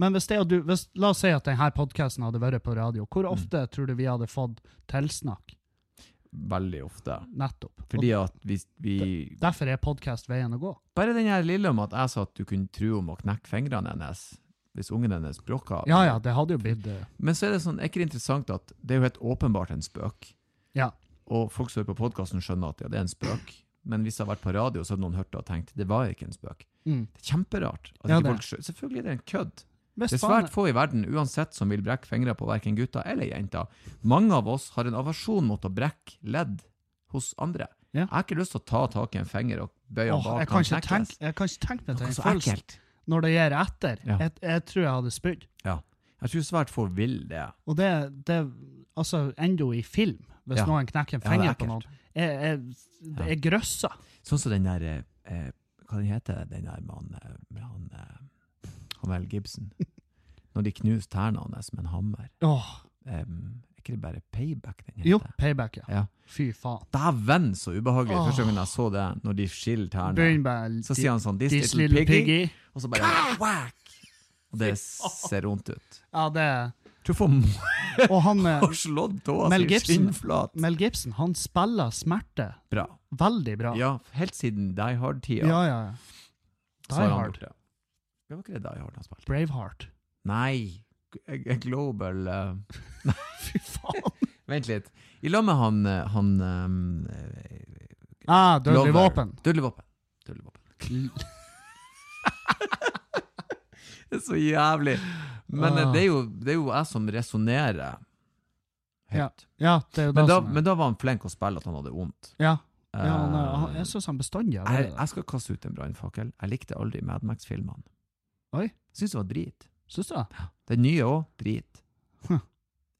Men hvis det og du, hvis, La oss si at denne podkasten hadde vært på radio. Hvor
Mm.
ofte tror du vi hadde fått tilsnakk?
Veldig ofte.
Nettopp. Og
Fordi at hvis vi
derfor er podkast veien å gå.
Bare den her lille om at jeg sa at du kunne true om å knekke fingrene hennes hvis ungen hennes bråka.
Ja ja, det hadde jo blitt eh,
Men så er det sånn, er ikke det interessant at det er jo helt åpenbart en spøk.
Ja.
Og folk som hører på podkasten, skjønner at ja, det er en spøk. Men hvis det har vært på radio, så hadde noen hørt det og tenkt det var ikke en spøk.
mm.
Det er kjemperart. At
Ja,
ikke
det er.
folk skjø- Selvfølgelig er det en kødd.
Hvis
Det er
faen-
svært få i verden uansett som vil brekke fingre på verken gutter eller jenter. Mange av oss har en aversjon mot å brekke ledd hos andre.
Ja.
Jeg har ikke lyst til å ta tak i en finger og bøye
Åh,
den bak
jeg, kan
kan
ikke
knekkes.
tenke, jeg kan ikke tenke meg til
Noe
den
så
følelsen
ekkelt.
når det gjør etter.
Ja.
Jeg, jeg tror jeg hadde spydd.
Ja. Jeg tror svært få vil det.
Og det, det altså endo i film, hvis
Ja.
noen knekker en
Ja, det er
finger på
ekkelt.
noen. Jeg, jeg,
Ja.
jeg grøsser.
Sånn som den der eh, eh, Hva den heter den der med han, eh, med han, eh, han Mel Gibson? Når de knuser tærne hans med en hammer.
Åh,
Em, er ikke det bare payback den heter?
jo, payback, ja.
Ja.
Fy faen.
Dæven, så ubehagelig!
Åh.
Første gangen jeg så det, når de skiller tærne.
Begynn med
Så sier han sånn This,
This
little,
little
piggy. Ah!
piggy.
Og så bare whack! Og det ser vondt ut.
Ja, det
Tror for må
Og han eh,
har slått tåa
Mel
si
Gibson.
skinnflat.
Mel Gibson, han spiller smerte
Bra.
veldig bra.
Ja, helt siden Die Hard-tida.
ja. ja, ja.
så
Die
har han
Hard.
gjort det. Det var ikke det Die Hard han spilte.
Braveheart.
Nei, G- Global eh,
Fy faen.
Vent litt. I lag med han, eh, han um,
Ah, Dødelig våpen.
Dødelig våpen. Dødelig våpen. Det er så jævlig. Men eh,
Ah.
det, er jo, det er jo jeg som resonnerer høyt.
Ja, det er jo det
Men, da,
som er
men da var han flink å spille at han hadde vondt.
Ja. ja han, er-
Eh,
han, jeg syns han bestandig har
jeg,
vært det.
jeg skal kaste ut en brannfakkel. Jeg likte aldri Mad Max-filmene.
Oi.
Syns det var drit.
Syns du det?
Den nye òg, drit.
Hm.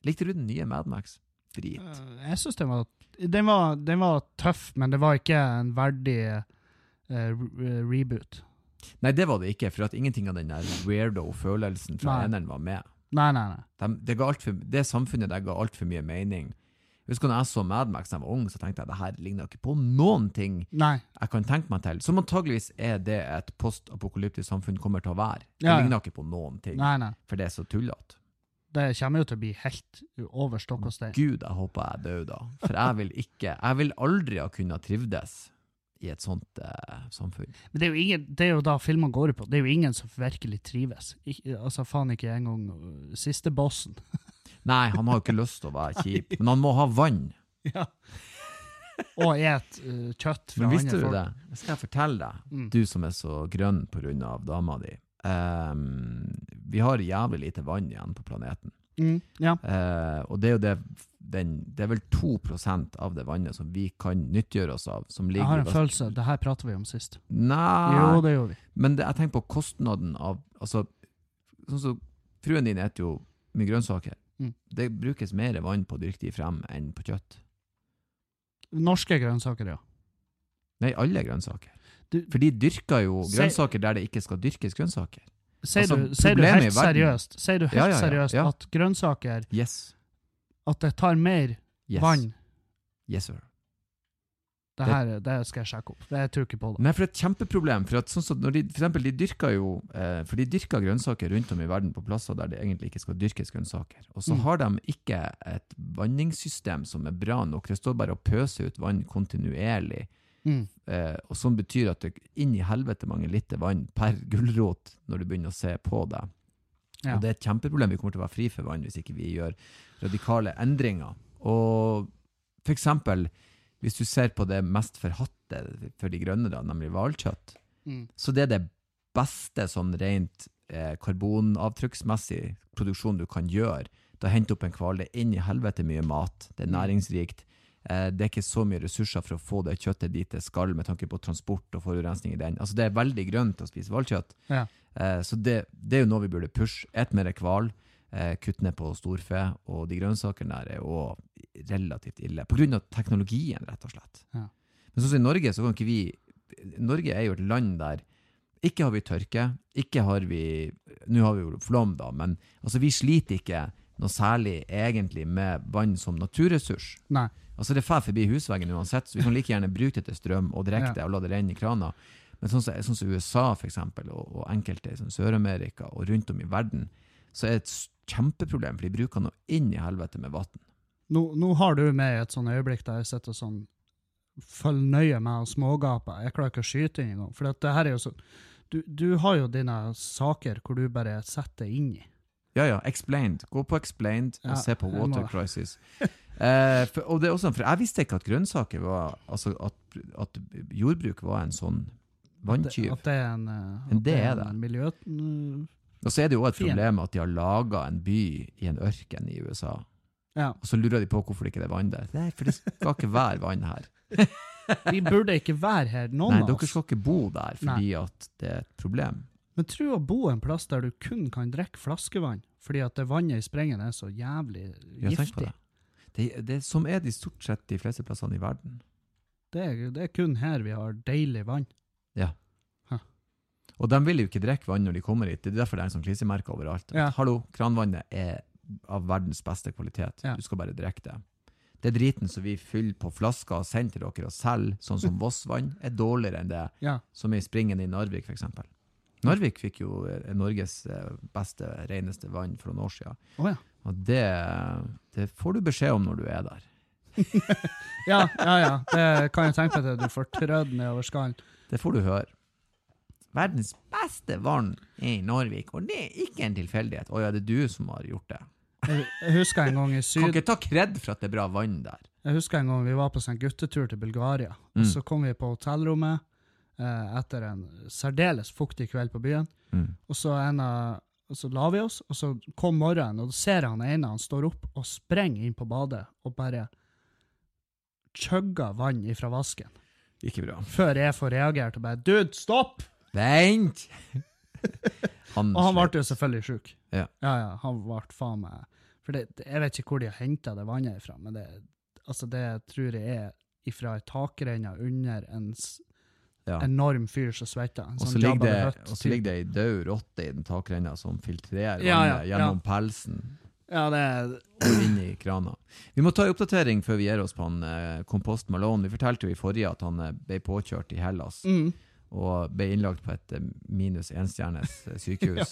Likte du den nye Mad Max? Drit.
Eh, Jeg syns den var den var, den var tøff, men det var ikke en verdig eh, re- eh, reboot.
Nei, det var det ikke, for at ingenting av den der weirdo-følelsen fra
Nei.
eneren var med.
Nei, nei, nei.
De, det, ga alt for, det samfunnet der ga altfor mye mening. Husker du når jeg så Mad Max da jeg var ung, så tenkte jeg det her ligner ikke på noen ting
nei.
jeg kan tenke meg til. Som antageligvis er det et postapokalyptisk samfunn kommer til å være. Det
Ja, ja.
ligner ikke på noen ting,
Nei, nei.
for det er så tullete.
Det kommer jo til å bli helt over stokk og stein.
Gud, jeg håper jeg dør da, for jeg vil ikke Jeg vil aldri ha kunnet trivdes i et sånt eh, samfunn.
Men det er, jo ingen, det er jo da filmene går på. Det er jo ingen som virkelig trives. Ik altså faen ikke engang øh, siste bossen.
Nei, han har jo ikke lyst til å være kjip, men han må ha vann.
Ja. Og et øh, kjøtt fra
Men visste
andre
du
folk.
det? Jeg skal fortelle deg,
Mm.
du som er så grønn på grunn av dama di. Ehm, vi har jævlig lite vann igjen på planeten.
Mm, ja.
Eh, og det er jo det den, Det er vel 2 av det vannet som vi kan nyttiggjøre oss av, som ligger
Jeg har en
i vass-
følelse. Det her prater vi om sist.
Nei!
Jo, det gjorde vi.
Men det, jeg tenker på kostnaden av Altså, sånn som fruen din spiser jo mye grønnsaker.
Mm.
Det brukes mer vann på å dyrke de frem enn på kjøtt.
Norske grønnsaker, ja.
Nei, alle grønnsaker.
Du-
For de dyrker jo
Se-
grønnsaker der det ikke skal dyrkes grønnsaker.
Sier
Altså,
du, sier du
problemet
helt
i verden-
seriøst, sier du helt
Ja, ja, ja,
seriøst
ja.
at grønnsaker
Yes.
At det tar mer
Yes.
vann?
Yes, sir.
Det her det skal jeg sjekke opp. Det jeg tror ikke på det.
Nei, for det er et kjempeproblem. For, at, sånn som når de, for eksempel, de dyrker jo eh, For de dyrker grønnsaker rundt om i verden på plasser der det egentlig ikke skal dyrkes grønnsaker. Og så
Mm.
har de ikke et vanningssystem som er bra nok. Det står bare å pøse ut vann kontinuerlig.
Mm.
Eh, og sånn betyr at det inn i helvete mange liter vann per gulrot når du begynner å se på det.
Ja.
Og det er et kjempeproblem. Vi kommer til å være fri for vann hvis ikke vi gjør radikale endringer. Og for eksempel, hvis du ser på det mest forhatte for de grønne, da, nemlig hvalkjøtt,
Mm.
så det er det beste sånn rent eh, karbonavtrykksmessig produksjon du kan gjøre. Da henter opp en hval, det er inn i helvete mye mat, det
Mm.
er næringsrikt. Eh, det er ikke så mye ressurser for å få det kjøttet dit det skal, med tanke på transport og forurensning i den. Altså, det er veldig grønt å spise hvalkjøtt.
Ja.
Eh, så det, det er jo noe vi burde pushe. Et mer hval. Eh, Kutt ned på storfe, og de grønnsakene der er jo relativt ille. På grunn av teknologien, rett og slett.
Ja.
Men sånn som i Norge, så kan ikke vi Norge er jo et land der ikke har vi tørke, ikke har vi Nå har vi jo flom, da, men altså, vi sliter ikke noe særlig egentlig med vann som naturressurs.
Nei.
Altså Det fer forbi husveggen uansett, så vi kan like gjerne bruke det til strøm og drikke
Ja.
det og la det renne i krana. Men sånn som sånn som USA for eksempel, og, og enkelte i sånn Sør-Amerika og rundt om i verden, så er det et s- kjempeproblem, for de bruker noe inn i helvete med vann.
Nå, nå har du med et sånt øyeblikk der jeg sitter sånn Følg nøye med og smågaper. Jeg klarer ikke å skyte inn engang. For at det her er jo sånn du, du har jo dine saker hvor du bare setter deg inn i.
Ja, ja, explained. Gå på explained og
Ja,
se på
jeg
Water
må-
Crisis. Eh, for, og det er også, for jeg visste ikke at grønnsaker var Altså at, at jordbruk var en sånn
At det-
vanntyv.
At det er en, eh,
Men
at
det er
en miljø...
Og så er det jo også et
Fin.
problem at de har laga en by i en ørken i USA.
Ja.
Og så lurer de på hvorfor det ikke er vann der. Nei, for det skal ikke være vann her.
Vi burde ikke være her, noen
Nei,
av
dere
oss.
skal ikke bo der fordi at det er et problem.
Men tro å bo en plass der du kun kan drikke flaskevann, fordi at det vannet i sprengen er så jævlig
Ja, tenk på
giftig.
det. Det, det som er de stort sett de fleste plassene i verden.
Det er, det er kun her vi har deilig vann.
Og de vil jo ikke drikke vann når de kommer hit. Det er derfor det er sånn krisemerke overalt.
Ja.
Hallo, kranvannet er av verdens beste kvalitet.
Ja.
Du skal bare drikke det. Det driten som vi fyller på flasker og sender til dere og selger, sånn som Voss-vann, er dårligere enn det
Ja.
som er i springen i Narvik, f.eks. Narvik fikk jo eh, Norges eh, beste, reneste vann for noen år siden.
Å ja.
Og det, det får du beskjed om når du er der.
Ja, ja, ja. Det kan jeg tenke meg at du får trødd nedover skallen.
Det får du høre. Verdens beste vann er i Narvik, og det er ikke en tilfeldighet. Å ja, det er du som har gjort det.
Jeg jeg husker en gang i
Kan
Syd...
ikke ta kred for at det er bra vann der.
Jeg husker en gang vi var på sånn guttetur til Bulgaria.
Mm.
Og så kom vi på hotellrommet eh, etter en særdeles fuktig kveld på byen.
Mm.
Og så, en av, og så la vi oss, og så kom morgenen, og da ser jeg han ene han står opp og sprenger inn på badet og bare chugger vann ifra vasken.
Ikke bra.
Før jeg får reagert og bare 'Dude, stopp!'
Vent! Han,
Og han ble jo selvfølgelig sjuk.
Ja.
ja, ja, han ble faen meg For det, det- jeg vet ikke hvor de har henta det vannet ifra, men det, altså det tror jeg er ifra ei takrenne under en s-
Ja.
enorm fyr som svetter. En
Og så
sånn
ligger
Jabba the
det-
Hutt
og så
type.
ligger det ei død rotte i den takrenna som filtrerer
Ja, ja,
vannet gjennom pelsen
Ja, det er
og inn i krana. Vi må ta en oppdatering før vi gir oss på han eh, Kompost Malone. Vi fortalte jo i forrige at han eh, ble påkjørt i Hellas.
mm.
og ble innlagt på et eh, minus enstjernes eh, sykehus.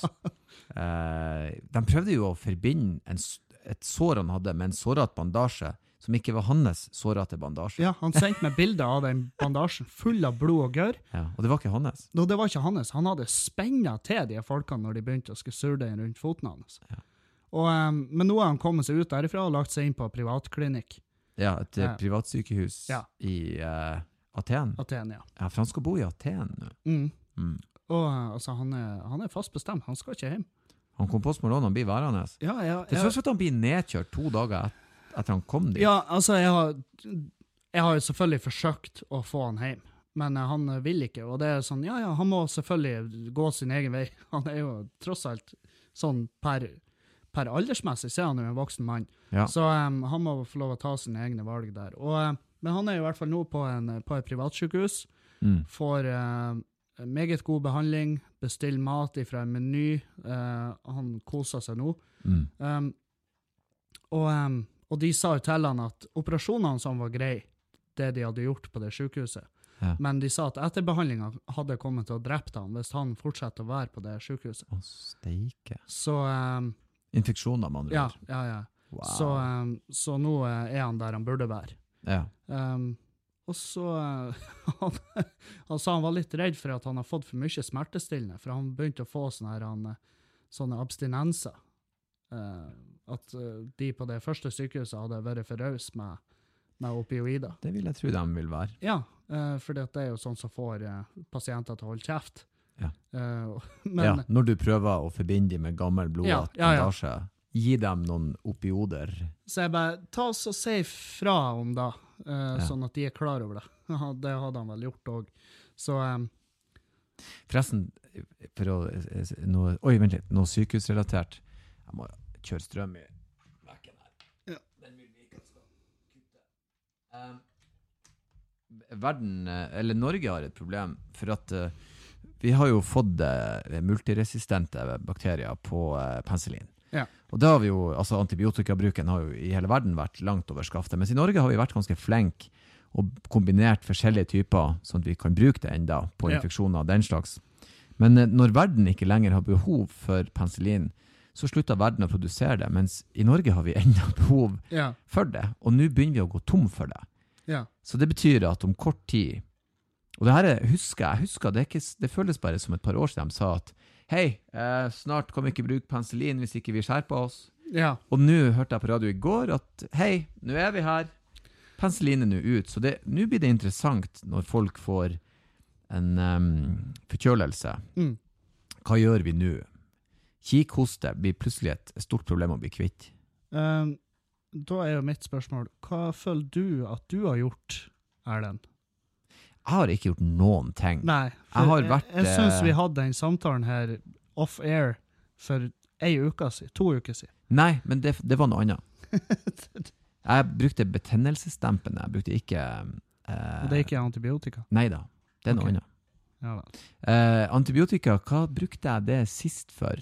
eh, de prøvde jo å forbinde en, s- et sår han hadde med en sårete bandasje, som ikke var hans sårete bandasje.
Ja, han sendte meg bilder av den bandasjen full av blod og gørr.
Ja, og det var ikke hans.
Og det var ikke hans. Han hadde spenna til de folkene når de begynte å skulle surre den rundt foten hans.
Ja.
Og, em, men nå har han kommet seg ut derifra og lagt seg inn på privatklinikk.
Ja, et eh,
Ja.
privatsykehus
Ja.
i eh, Aten.
Aten, ja.
Ja, for han skal bo i Aten nå.
Mm.
Mm.
Og eh, altså, han er, han er fast bestemt. Han skal ikke hjem.
Han kom på Smålån, han blir værende.
Ja, jeg,
Til tross for at han blir nedkjørt to dager et, etter han kom dit.
ja, altså, jeg har, jeg har jo selvfølgelig forsøkt å få han hjem, men eh, han vil ikke. Og det er sånn, ja, ja, han må selvfølgelig gå sin egen vei. Han er jo tross alt sånn per, per aldersmessig, så er han jo en voksen mann.
Ja.
Så em, han må få lov å ta sine egne valg der. Og, eh, men han er jo i hvert fall nå på, en, eh, på et privatsykehus.
Mm.
får eh, meget god behandling, bestiller mat fra en meny. eh, han koser seg nå.
Mm.
Um, og, um, og de sa jo til han at operasjonene som var greie, det de hadde gjort på det sykehuset,
Ja.
men de sa at etterbehandlinga hadde kommet til å drept han hvis han fortsatte å være på det sykehuset.
Å, steike.
Så um,
Infeksjoner, med andre
ja,
ord.
ja, ja.
Wow.
Så, um, så nå eh, er han der han burde være.
ja.
Um, og så eh, han, han sa han var litt redd for at han har fått for mye smertestillende, for han begynte å få sånne, her, han, eh, sånne abstinenser. Eh, at eh, de på det første sykehuset hadde vært for rause med, med opioider.
Det vil jeg tro de vil være.
Ja, uh, for det er jo sånn som får eh, pasienter til å holde kjeft.
Ja.
Eh, og- men,
ja, når du prøver å forbinde dem med gammel blod
Ja, ja, ja.
bandasje, gi dem noen opioder.
Så jeg bare Ta oss og si fra om det, eh, sånn at de er klar over det. Ja, det hadde han vel gjort òg. Så ehm, em,
Forresten, for å, eh, noe, oi, vent litt, noe sykehusrelatert. Jeg må kjøre strøm i vekken her.
Ja.
Den vil vi ikke skal kutte. Um, verden, eh, eller Norge har et problem, for at eh, vi har jo fått eh, multiresistente bakterier på eh, penicillin.
Ja.
Og da har vi jo, altså Antibiotikabruken har jo i hele verden vært langt over skaftet, mens i Norge har vi vært ganske flinke og kombinert forskjellige typer, sånn at vi kan bruke det enda på
Ja.
infeksjoner og den slags. Men eh, når verden ikke lenger har behov for penicillin, så slutter verden å produsere det, mens i Norge har vi enda behov
ja,
for det, og nå begynner vi å gå tom for det.
ja.
Så det betyr at om kort tid Og det her er- husker jeg, husker, det, er ikke, s- det føles bare som et par år siden de sa at hei, eh, snart kan vi ikke bruke penicillin hvis ikke vi skjerper oss.
ja.
Og nå hørte jeg på radio i går at hei, nå er vi her. Penicillin er nå ut, så det- nå blir det interessant når folk får en em, forkjølelse.
Mm.
Hva gjør vi nå? Kikhoste blir plutselig et stort problem å bli kvitt.
Ehm, da er jo mitt spørsmål, hva føler du at du har gjort, Erlend?
Jeg har ikke gjort noen ting.
Nei,
Jeg har
jeg,
vært,
jeg, synes
eh,
vi hadde den samtalen her off-air for ei uke siden, to uker siden.
Nei, men det, det var noe annet. Jeg brukte betennelsesdempende. Jeg brukte ikke eh,
Og det er ikke antibiotika.
Nei da, det er noe
Ok.
annet.
Ja vel.
Eh, antibiotika, hva brukte jeg det sist for?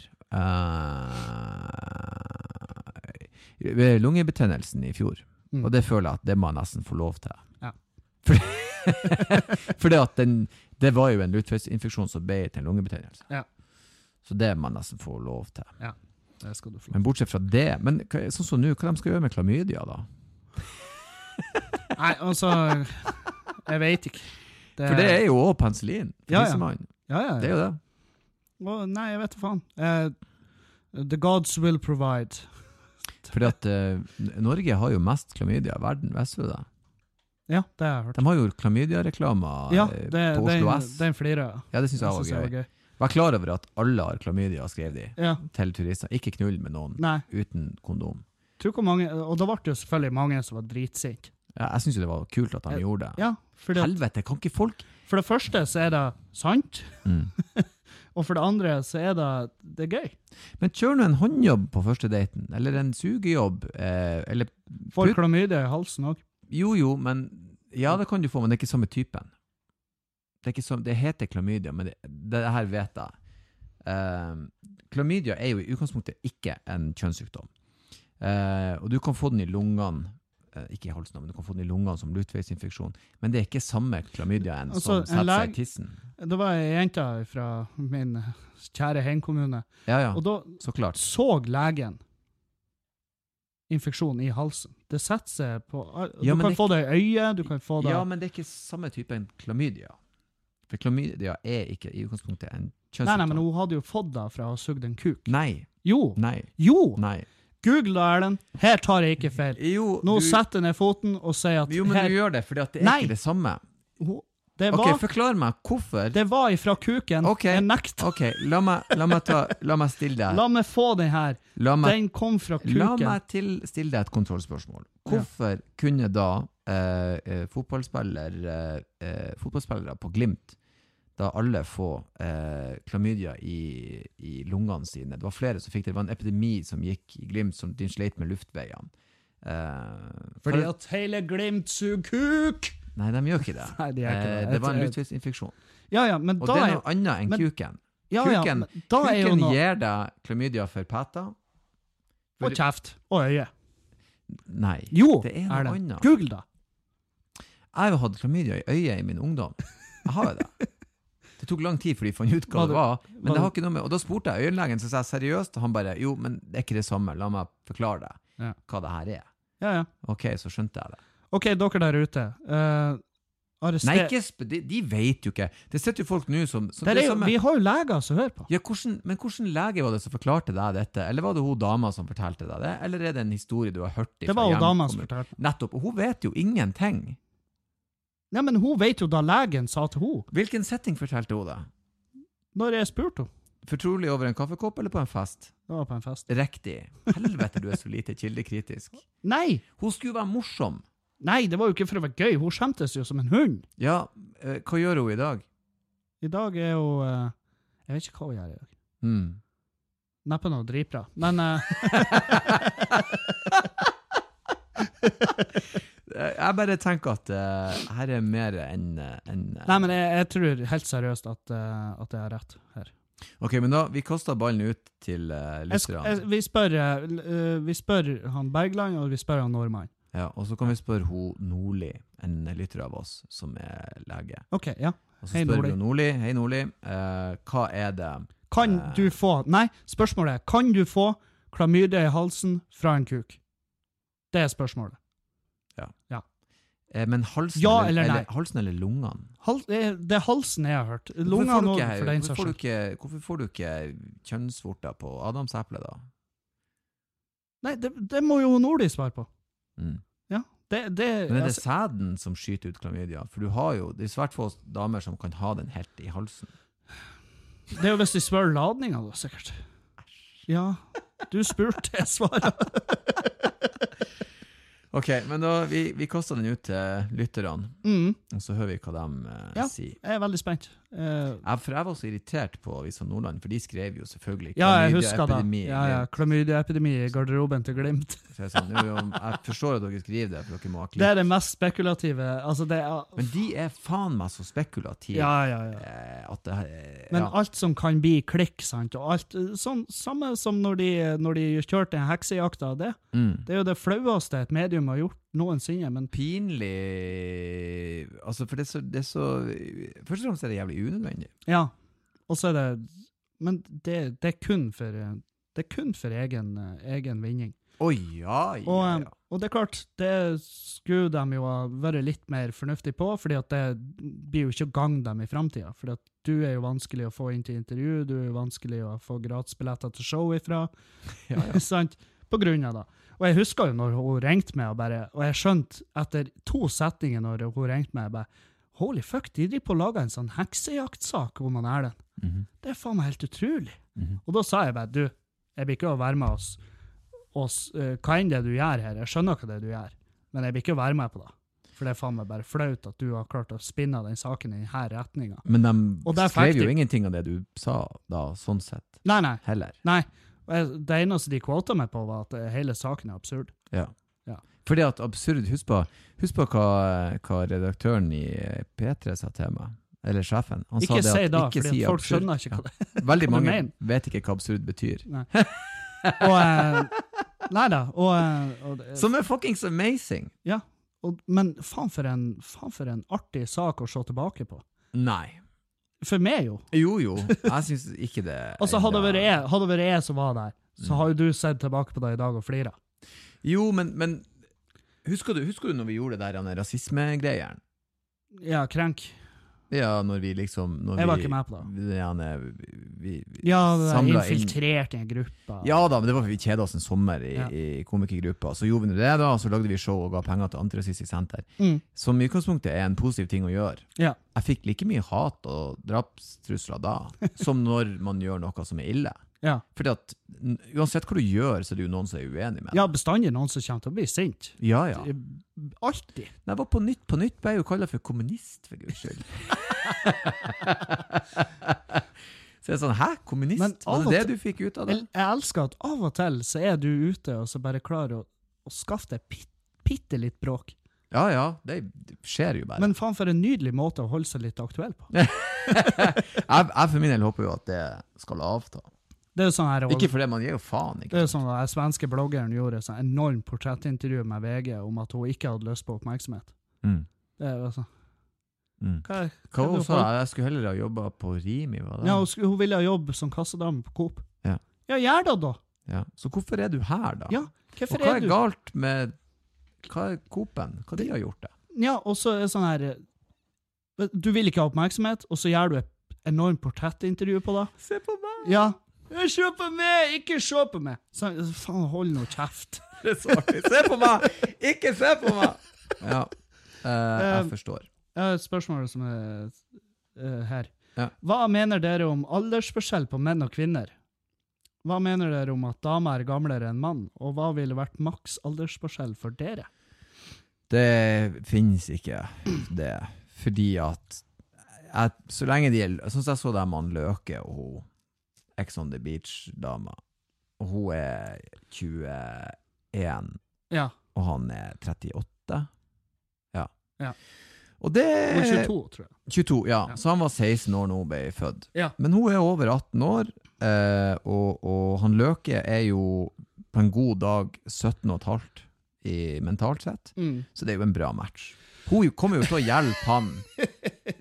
Eh, ved lungebetennelsen i fjor.
Mm.
Og det føler jeg at det må jeg nesten få lov til.
Ja.
For, fordi at den, det var jo en luftfiskinfeksjon som ble til en lungebetennelse.
Ja.
Så det må jeg nesten få lov til.
Det skal du få.
Men bortsett fra det, men hva- sånn som nå, hva de skal gjøre med klamydia da?
Nei, altså, jeg vet ikke. Det-
For det er jo også penicillin.
Ja, ja.
Fisemann.
Ja, ja, ja.
Det er jo det.
Å, nei, jeg vet da faen. Eh, the gods will provide.
Fordi at eh, N- Norge har jo mest klamydia i verden, vet du det?
Ja, det har jeg hørt.
De har jo klamydia-reklamer
Ja,
eh,
det,
på Oslo
den,
S.
den flirer jeg.
ja, det syns
Det
jeg var
synes jeg
gøy.
var gøy.
Vær klar over at alle har klamydia, skrev de
Ja,
til turister. Ikke knull med noen
nei.
uten kondom.
Tror ikke mange, og da ble det jo selvfølgelig mange som var dritsinte.
Ja, jeg syns jo det var kult at de
Eh,
gjorde det.
Ja, fordi, at-
Helvete, kan ikke folk
for det første så er det sant,
mm.
og for det andre så er det, det er gøy.
Men kjør nå en håndjobb på første daten, eller en sugejobb, eh, eller
Får
Putt-
klamydia i halsen òg.
Jo, jo, men Ja, det kan du få, men det er ikke samme typen. Det, er ikke som, det heter klamydia, men det, det her vet jeg. Ehm, klamydia er jo i utgangspunktet ikke en kjønnssykdom. Eh, og du kan få den i lungene, eh, ikke i halsen, men du kan få den i lungene som luftveisinfeksjon. Men det er ikke samme klamydiaen
Altså,
som
en
setter seg
leg-
i tissen.
Det var ei jente fra min kjære heimkommune,
Ja, ja,
og da
så klart.
så legen infeksjon i halsen. Det setter seg på Du
Ja, men
kan
det-
få det i øyet, du kan få det
Ja, men det er ikke samme type enn klamydia. For klamydia er ikke i utgangspunktet en
Nei, nei, men
kjønnssykdom.
hun hadde jo fått det fra å ha sugd en kuk.
Nei,
Jo!
nei,
Jo!
nei.
Google da, Erlend. Her tar jeg ikke feil.
Jo,
Nå
du-
setter jeg ned foten og sier at
Jo, men
her,
du gjør det, for det er
Nei.
ikke det samme.
Hun- det,
Ok,
var,
forklar meg hvorfor.
det var ifra kuken.
Ok.
Jeg nekter.
Ok, la meg, la meg, ta, la meg stille deg
La meg få den her.
La meg,
Den kom fra
la
kuken.
meg til, stille deg et kontrollspørsmål. Hvorfor kunne da eh, eh, fotballspiller, eh, eh, fotballspillere på Glimt da alle få eh, klamydia i, i lungene sine? Det var flere som fikk det. Det var en epidemi som gikk i Glimt, som de sleit med luftveiene. Eh,
Fordi
for-
at hele Glimt suger kuk!
Nei, de gjør ikke det.
Nei, de gjør ikke
Eh,
det.
det var en
Jeg-
luftveisinfeksjon.
Ja, ja, men
Og
da
det er
er
noe annet enn
men-
kuken.
ja, ja,
kuken-
men da er jo
Kuken
noe
gir deg klamydia for peta.
Og kjeft. Og øye.
Nei.
Jo,
det er noe
er det.
annet.
Google da.
Jeg har jo hatt klamydia i øyet i min ungdom. Jeg har jo det. Det tok lang tid før de fant ut hva
Var det-
det var.
var
Men det har
det-
ikke noe med, og da spurte jeg øyelegen, så sa jeg seriøst, og han bare jo, men det er ikke det samme, la meg forklare
Ja.
deg hva det her er.
Ja, ja.
Ok, så skjønte jeg det.
OK, dere der ute. eh, arrester...
Nei, ikke, sp- de, de vet jo ikke. Det sitter jo folk nå som, som
Der
det
er jo,
samme-
vi har jo leger som hører på.
Ja, hvordan, men hvordan lege var det som forklarte deg dette? Eller var det hun dama som fortalte deg det? Eller er det en historie du har hørt
Det var jo dama som fortalte.
Nettopp. Og hun vet jo ingenting.
Nei, men hun vet jo da legen sa til hun,
Hvilken setting fortalte hun det?
når jeg spurte hun.
Fortrolig over en kaffekopp eller på en fest?
Det var på en fest.
Riktig. Helvete, du er så lite kildekritisk.
Nei!
Hun skulle være morsom.
Nei, det var jo ikke for å være gøy. Hun skjemtes jo som en hund.
Ja, eh, hva gjør hun i dag?
I dag er hun eh, Jeg vet ikke hva hun gjør i dag.
Hmm.
Neppe noe dritbra. Men eh,
Eh, Jeg bare tenker at eh, her er mer enn eh, enn, eh.
Nei, men jeg, jeg tror helt seriøst at, eh, at jeg har rett her.
Ok, men da, vi kaster ballen ut til uh,
Jeg, sk- jeg,
lytterne.
vi, spør, eh, l- eh, vi spør han Bergland, og vi spør han Normann.
Ja, og så kan vi spørre hun Nordli, en lytter av oss, som er lege.
OK, ja.
Og så
Hei,
spør
Nordli.
vi jo Nordli. Hei, Nordli. eh, hva er det
Kan
Eh.
du få Nei, spørsmålet er kan du få klamydia i halsen fra en kuk? Det er spørsmålet.
Eh, Men halsen,
Ja
eller,
eller nei?
eller, halsen eller lungene?
Hal, eh, det er halsen jeg har hørt.
Hvorfor får
Lungene
du
òg,
ikke-
for den
hvorfor
saks
får du
skyld.
ikke- Hvorfor får du ikke kjønnsvorter på adamseplet, da?
Nei, det, det må jo Nordli svare på.
Mm.
Det, det,
Men er det
altså,
sæden som skyter ut klamydia? For du har jo, det er svært få damer som kan ha den helt i halsen.
det er jo hvis de spør ladninga, da, sikkert. Ja, du spurte, jeg svarer.
Ok, men da, vi, vi kaster den ut til lytterne,
Mm,
og så hører vi hva de eh,
Ja.
sier.
jeg er veldig spent. Eh,
Jeg, for jeg var så irritert på Avisa Nordland, for de skrev jo selvfølgelig
ja, jeg husker det.
klamydia-epidemi.
Ja, ja, Klamydiaepidemi i garderoben til Glimt.
Så jeg, er sånn, jo, jo, jeg forstår at dere skriver det, for dere må ha
Det
klipp.
er det mest spekulative. Altså, det er
Men de er faen meg så spekulative
Ja, ja, ja.
eh, at det her eh,
Men
ja.
alt som kan bli klikk, sant, og alt sånn, Samme som når de, når de kjørte den heksejakta. Det
mm.
Det er jo det flaueste et medium har gjort noensinne, men
Pinlig Altså, for det er, så, det er så Først og fremst er det jævlig unødvendig.
ja. Og så er det Men det, det er kun for eh, det er kun for egen, eh, egen vinning.
Å ja, ja,
Og, eh,
ja.
og det er klart, det skulle de jo ha vært litt mer fornuftig på, fordi at det blir jo ikke å gagne dem i framtida. For du er jo vanskelig å få inn til intervju, du er jo vanskelig å få gratisbilletter til show ifra.
Ja,
sant? På grunn av det. Og jeg husker jo når hun ringte meg, og bare, og jeg skjønte etter to setninger når hun ringte meg, jeg bare Holy fuck, de driver på å lage en sånn heksejaktsak om han Erlend.
Mhm,
Det er faen meg helt utrolig.
mhm.
Og da sa jeg bare, du, jeg blir ikke å være med oss, oss eh, hva enn det du gjør her, jeg skjønner ikke det du gjør, men jeg blir ikke å være med på det. For det er faen meg bare flaut at du har klart å spinne den saken i denne retninga.
Men de
Og det er
skrev
faktisk-
jo ingenting av det du sa da, sånn sett,
Nei, nei,
heller.
nei. Og jeg- Det eneste de kvota meg på, var at eh, hele saken er absurd.
Ja.
Ja.
Fordi at absurd Husk på, husk på hva, hva redaktøren i P3 sa til meg. Eller sjefen. Han
Ikke
sa det
si
at
da,
ikke
fordi
si
at folk
absurd.
skjønner ikke hva det hva
Veldig
du
mange
mener.
vet ikke hva absurd betyr.
Og, eh, nei da, og, eh, og, det-
Som er fuckings amazing!
og Men faen for, en, faen for en artig sak å se tilbake på.
Nei.
For meg, jo.
Jo, jo. Jeg syns ikke det
Altså, hadde det vært
enda-
jeg, hadde det vært jeg som var der, så
Mm.
har jo du sett tilbake på det i dag og flira.
Jo, men, men husker, du, husker du når vi gjorde det der han, rasismegreieren?
Ja, krenk.
Ja, når vi liksom når
Jeg var
vi,
ikke med på det.
det. han er- vi, vi,
Ja, det der
Samla inn-
infiltrert i en gruppe.
Ja da, men det var fordi vi kjeda oss en sommer i,
Ja.
i komikergruppa. Så gjorde vi nå det, da, og så lagde vi show og ga penger til Antirasistisk Senter.
Mm.
Som i utgangspunktet er en positiv ting å gjøre.
Ja.
Jeg fikk like mye hat og drapstrusler da, som når man gjør noe som er ille.
Ja.
Fordi at n- uansett hva du gjør, så er det jo noen som er uenig med deg.
ja, bestandig noen som kommer til å bli sint. Eh,
Ja, ja.
Alltid.
Når jeg var på Nytt på Nytt, ble jeg jo kalla for kommunist, for guds skyld. så jeg er sånn, hæ, kommunist?
Men av
var
og
det det du fikk ut av det?
Jeg, jeg elsker at av og til så er du ute og så bare klarer å, å skaffe deg pit- bitte litt bråk.
Ja ja, det skjer jo bare.
Men faen for en nydelig måte å holde seg litt aktuell på.
jeg, jeg for min del håper jo at det skal avta.
Det er jo sånn her
Ikke fordi man gir jo faen,
Det
ikke
er jo sånn at Den svenske bloggeren gjorde et sånn enormt portrettintervju med VG om at hun ikke hadde lyst på oppmerksomhet.
Mm.
Det er jo sånn.
Mm.
Hva, er-
Hva
er
hun
det
sa jeg? Jeg skulle heller ha jobba på Rimi, var det?
ja, hun, skulle, hun ville ha jobb som kassadame på Coop.
Ja.
ja gjør det, da!
Ja. Så hvorfor er du her, da?
Ja,
Og
Hvorfor
hva
er
er
du
galt med hva er Coop-en? Hva de har gjort det?
Ja, og så er det sånn her eh, Du vil ikke ha oppmerksomhet, og så gjør du et enormt portrettintervju på det.
Se på meg!
Ja. Ja, Se på meg, ikke se på meg! Så, faen, hold nå kjeft.
Det er så artig. Se på meg! Ikke se på meg! Ja. Eh, jeg
Um,
forstår.
Jeg har et spørsmål som er eh, her.
Ja.
Hva mener dere om aldersforskjell på menn og kvinner? Hva mener dere om at damer er gamlere enn mann, og hva ville vært maks aldersforskjell for dere?
Det finnes ikke, det. Fordi at jeg, Så lenge de er Sånn som jeg så dem han Løke og hun Ex on the Beach-dama, og hun er 21
Ja,
og han er 38. Ja.
Ja.
Og det
og 22, tror jeg.
22, ja.
Ja.
Så han var 16 år når hun ble født.
Ja.
Men hun er over 18 år, eh, og, og han Løke er jo på en god dag 17 og et halvt i mentalt sett,
Mm.
så det er jo en bra match. Hun kommer jo til å hjelpe han.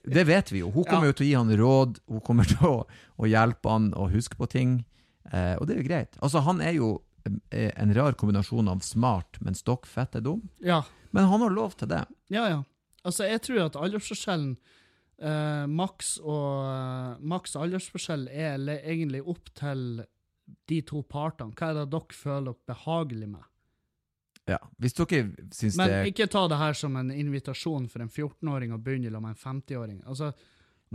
Det vet vi jo. Hun kommer
Ja.
jo til å gi han råd, hun kommer til å, å hjelpe han å huske på ting, eh, og det er jo greit. Altså, han er jo eh, en rar kombinasjon av smart, men stokkfette dum.
Ja,
Men han har lov til det.
ja. ja. Altså, jeg tror at aldersforskjellen eh, maks og eh, maks aldersforskjell er le- egentlig opp til de to partene. Hva er det dere føler dere behagelig med?
Ja. Hvis dere syns det
Men
er
ikke ta det her som en invitasjon for en 14-åring å begynne sammen med en 50-åring. Altså,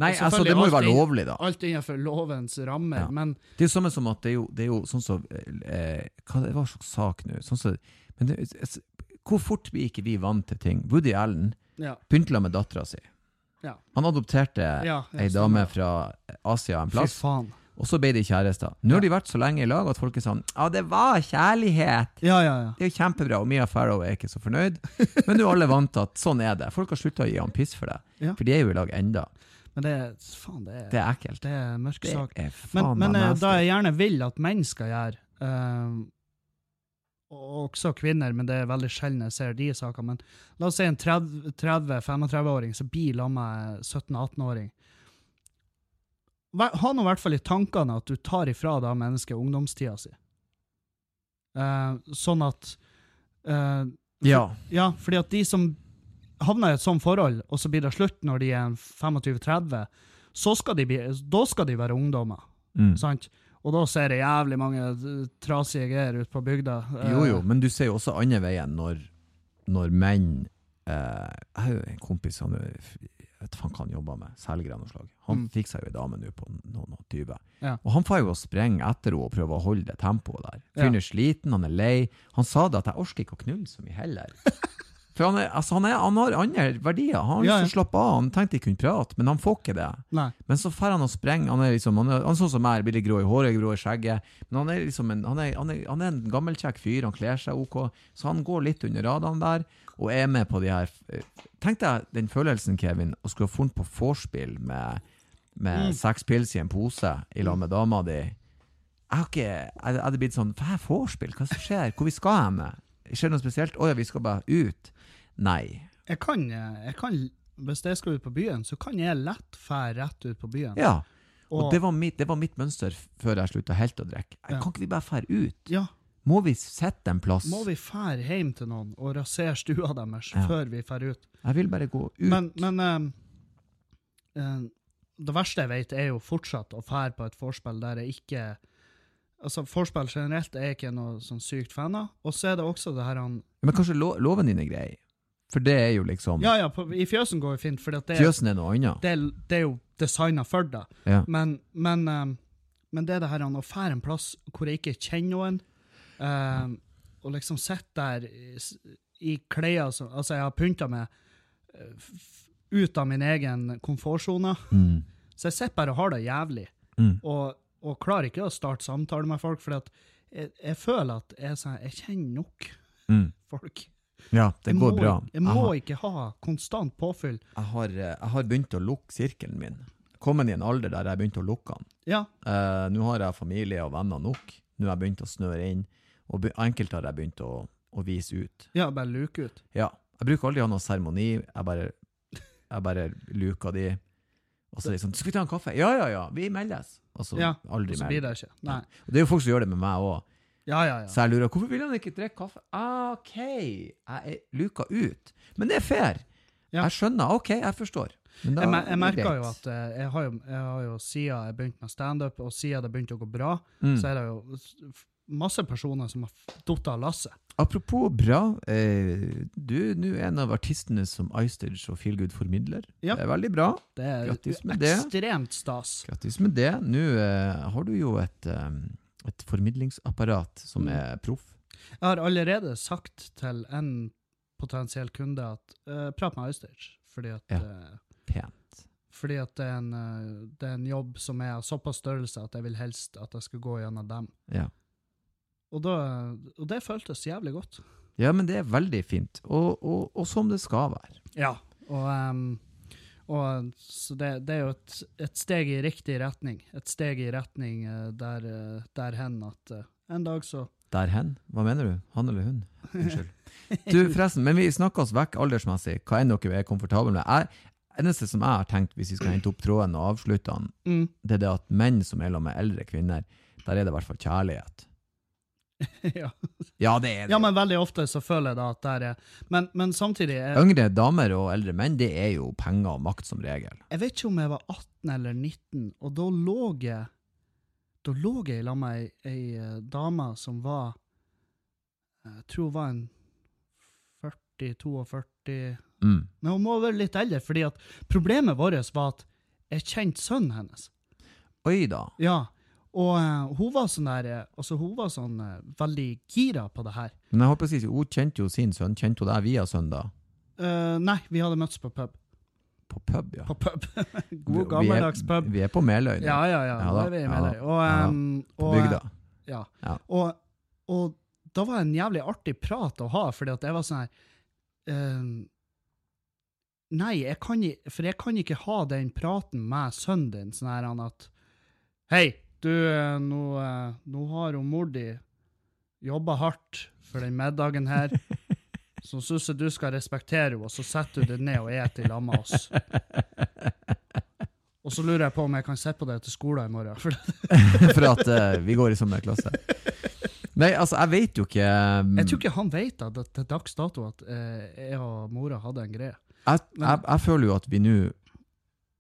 Nei,
Og
altså, det må
selvfølgelig
jo være
alt inn-
lovlig, da.
Alt innenfor lovens rammer,
Ja.
men
Det er jo samme som at det er jo, det er jo sånn som eh, Hva det var slags sak nå? Sånn som, men det, altså, hvor fort blir ikke vi vant til ting? Woody Allen
ja.
begynte la med dattera si.
Ja.
Han adopterte
ja
ei
jeg
dame
stemmer.
fra Asia en plass,
Fy faen.
og så ble de kjærester. Nå har de vært så lenge i lag at folk er sånn Ja, det var kjærlighet!
Ja, ja, ja.
Det er jo kjempebra, og Mia Farrow er ikke så fornøyd. Men nå er alle vant til at sånn er det. Folk har slutta å gi han piss for det.
Ja.
For de er jo i lag enda.
Men det er Faen, det er,
Det er ekkelt.
det er en mørk
Det
sak.
er faen
Men, men
meg
eh,
nasty.
da jeg gjerne vil at menn skal gjøre, eh, og også kvinner, men det er veldig sjelden jeg ser de sakene, men la oss si en 30 30-35-åring som blir la meg 17-18-åring. Vær- Ha nå i hvert fall i tankene at du tar ifra da mennesket ungdomstida si. Eh, sånn at eh,
Ja.
Ja, fordi at de som havner i et sånt forhold, og så blir det slutt når de er 25-30, så skal de, bli, da skal de være ungdommer,
Mm.
sant? Og da ser det jævlig mange eh, trasige greier ute på bygda. Eh,
Jo, jo, men du ser jo også andre veien når, når menn eh, Jeg har jo en kompis han er- jeg vet faen hva han jobber med, selger av noe slag. Han
Mm.
fikk seg jo ei dame nå på noen og tyve.
Ja.
Og han får jo å sprenge etter henne og prøve å holde det tempoet der. Fyren
Ja.
er sliten, han er lei. Han sa det at 'jeg orker ikke å knulle så mye heller'. For han, er, altså han, er, han har andre verdier. Han har lyst
Ja,
til å slappe av, han tenkte de kunne prate, men han får ikke det.
Nei.
Men så drar han og sprenger. Han er liksom, han er, han er sånn som meg, blir litt grå i håret, grå i skjegget. Men han er liksom en, han er, han er, han er en gammel, kjekk fyr, han kler seg ok. Så han går litt under radene der, og er med på de her eh, Tenk deg den følelsen, Kevin, å skulle ha funnet på vorspiel med, med
Mm.
seks pils i en pose i lag med dama di. Jeg har ikke Jeg hadde blitt sånn Hva er vorspiel? Hva som skjer? Hvor vi skal hen? Skjer det noe spesielt? Å ja, vi skal bare ut? Nei.
Jeg kan, eh, jeg kan, hvis jeg skal ut på byen, så kan jeg lett fære rett ut på byen.
Ja. Og,
Og-
det, var mitt, det var mitt mønster f- før jeg slutta helt å drikke. Jeg-
Ja.
Kan ikke vi bare fære ut?
Ja,
Må vi sitte en plass?
må vi fære hjem til noen og rasere stua deres
Ja.
før vi fære ut?
Jeg vil bare gå ut.
Men, men eh, eh, det verste jeg vet, er jo fortsatt å fære på et vorspiel der jeg ikke Altså, vorspiel generelt er jeg ikke noe sånn sykt fan av. Og så er det også det her han
Men kanskje lo, loven din er grei? For det er jo liksom
Ja ja, på, i fjøsen går jo fint, for det,
Fjøsen er noe annet.
det, det er jo designa for deg.
Ja.
Men, men, eh, men det er det her han å fære en plass hvor jeg ikke kjenner noen, eh, og liksom sitte der i, s- i klær som altså jeg har pynta meg eh, f- ut av min egen komfortsone.
Mm.
Så jeg sitter bare og har det jævlig,
Mm.
og, og klarer ikke å starte samtale med folk, for jeg, jeg føler at jeg, er sånn, jeg kjenner nok
Mm.
folk.
Ja, det
Jeg
går
må,
bra.
Jeg må
har,
ikke ha konstant påfyll.
jeg, har, eh, jeg har begynt å lukke sirkelen min. Kommet i en alder der jeg begynte å lukke den.
Ja,
Eh, Nå har jeg familie og venner nok. Nå har jeg begynt å snøre inn, og be- enkelte har jeg begynt å, å vise ut.
ja bare luke ut.
Ja. Jeg bruker aldri å ha noen seremoni. Jeg bare, jeg bare luker de. Og så er de sånn 'Skal vi ta en kaffe?' 'Ja, ja, ja. Vi meldes.' Og så
Ja,
aldri
Og så blir
mer.
det ikke. Nei.
Og det er jo folk som gjør det med meg òg.
Ja, ja, ja.
Så jeg lurer 'Hvorfor vil han ikke drikke kaffe?' Ah, 'OK, jeg er luka ut.' Men det er fair.
Ja.
Jeg skjønner. OK, jeg forstår. Men da
Jeg, mer-
er
jeg
det
merker
greit.
jo at eh, jeg har jo, jeg har jo siden jeg begynte med standup, og siden det begynte å gå bra,
Mm.
så er det jo s- f- masse personer som har f- falt av lasset.
Apropos bra, eh, du nå er en av artistene som Icedage og Feel Good formidler.
Ja.
Det er veldig bra.
Det er
Grattis med det.
ekstremt stas.
Grattis med det. Nå eh, har du jo et, eh, et formidlingsapparat som
Mm.
er proff.
Jeg har allerede sagt til en potensiell kunde at eh, prat med iStage, fordi at,
Ja.
eh,
Pent.
fordi at det, er en, eh, det er en jobb som er av såpass størrelse at jeg vil helst at jeg skal gå gjennom dem.
Ja.
Og, da, og det føltes jævlig godt.
ja, men det er veldig fint. Og, og, og som det skal være.
Ja. Og, em, og så det, det er jo et, et steg i riktig retning. Et steg i retning eh, der, eh, der hen at eh, en dag så
Der hen. Hva mener du? Han eller hun? Unnskyld. Du, forresten, men vi snakker oss vekk aldersmessig. Hva enn dere er komfortable med. Jeg, eneste som jeg har tenkt, hvis vi skal hente opp tråden og avslutte den,
mm.
det er det at menn som er sammen med eldre kvinner, der er det i hvert fall kjærlighet.
ja.
Ja, det er det.
ja, men veldig ofte så føler jeg da at der er Men, men samtidig er,
Yngre damer og eldre menn, det er jo penger og makt som regel.
Jeg vet ikke om jeg var 18 eller 19, og da lå jeg Da lå jeg sammen med ei, ei eh, dame som var eh, Jeg tror hun var en 40-42 Nei,
Mm.
hun må være litt eldre, fordi at problemet vårt var at er kjent sønnen hennes.
Oi da.
Ja, og eh, hun var sånn der, eh, altså hun var sånn eh, veldig gira på det her.
Men jeg håper å si, hun kjente jo sin sønn. Kjente hun deg via sønn, da?
Eh, nei, vi hadde møtts på pub.
På pub, ja.
På pub.
Vi-
God gammeldags
vi er-
pub.
Vi er på Meløy nå.
Ja, ja, ja.
Ja
da
da,
er vi
ja
med
da,
deg. Og,
ja da.
em, og,
på
eh,
bygda.
Ja.
Ja.
Og, og da var det en jævlig artig prat å ha, fordi at jeg var sånn her ehm, Nei, jeg kan, i- for jeg kan ikke ha den praten med sønnen din, sånn her han at Hei, du, eh, nå, eh, nå har hun mor di jobba hardt for den middagen her, så syns jeg du skal respektere henne, og så setter du deg ned og et i lag med oss. Og så lurer jeg på om jeg kan se på det til skolen i morgen. For
For at eh, vi går i samme klasse. Nei, altså, jeg vet jo ikke um,
Jeg tror ikke han vet at det- til dags dato at eh, jeg og mora hadde en greie.
jeg, jeg, jeg føler jo at vi nå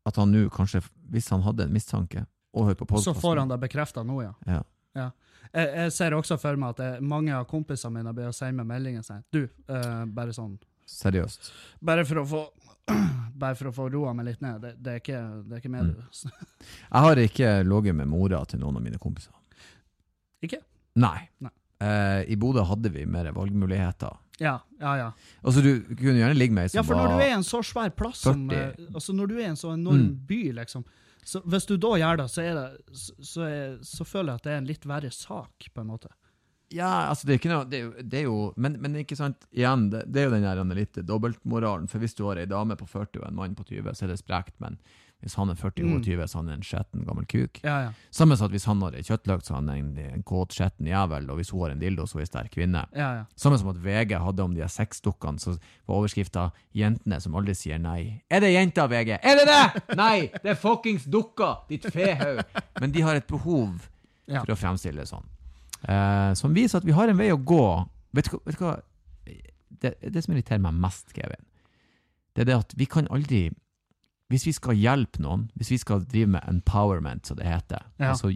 At han nå kanskje, hvis han hadde en mistanke og hører på
Så
podkasten
får han det bekrefta nå, ja.
Ja.
Jeg, jeg ser også for meg at jeg, mange av kompisene mine begynner å sende meg meldinger og sier Du, eh, bare sånn
Seriøst.
Bare for å få Bare for å få roa meg litt ned. Det, det, er, ikke, det er ikke med,
Mm.
du.
Jeg har ikke ligget med mora til noen av mine kompiser.
Ikke?
Nei.
Nei.
Eh, I Bodø hadde vi mer valgmuligheter.
Ja, ja, ja.
Altså, du kunne gjerne ligge med ei som
Ja, for når
var
du er i en så svær plass som eh,
40.
Altså, når du er i en så enorm
Mm.
by, liksom så Hvis du da gjør det, så, er det, så, så, er, så føler jeg at det er en litt verre sak, på en måte.
Ja, altså, det er ikke noe det er, jo- det er jo Men, men ikke sant, igjen, det, det er jo den der litt dobbeltmoralen. For hvis du har ei dame på 40 og en mann på 20, så er det sprekt, men hvis han er 40 og hun
Mm.
er 20, så er han en skjetten gammel kuk.
Ja, ja.
Samme som at hvis han har ei kjøttløk, så er han en, en kåt, skjetten jævel, og hvis hun har en dildo, så er hun ei sterk kvinne.
ja, ja.
Samme som at VG hadde om de her sexdukkene, så var overskrifta 'Jentene som aldri sier nei'. Er det jenter, VG? Er det det?! Nei! Det er fuckings dukker, ditt fehaug! Men de har et behov
Ja.
for å fremstille det sånn. Eh, som viser at vi har en vei å gå. Vet du hva, vet du hva? Det, det som irriterer meg mest, Kevin, det er det at vi kan aldri Hvis vi skal hjelpe noen, hvis vi skal drive med empowerment, som det heter,
Ja.
altså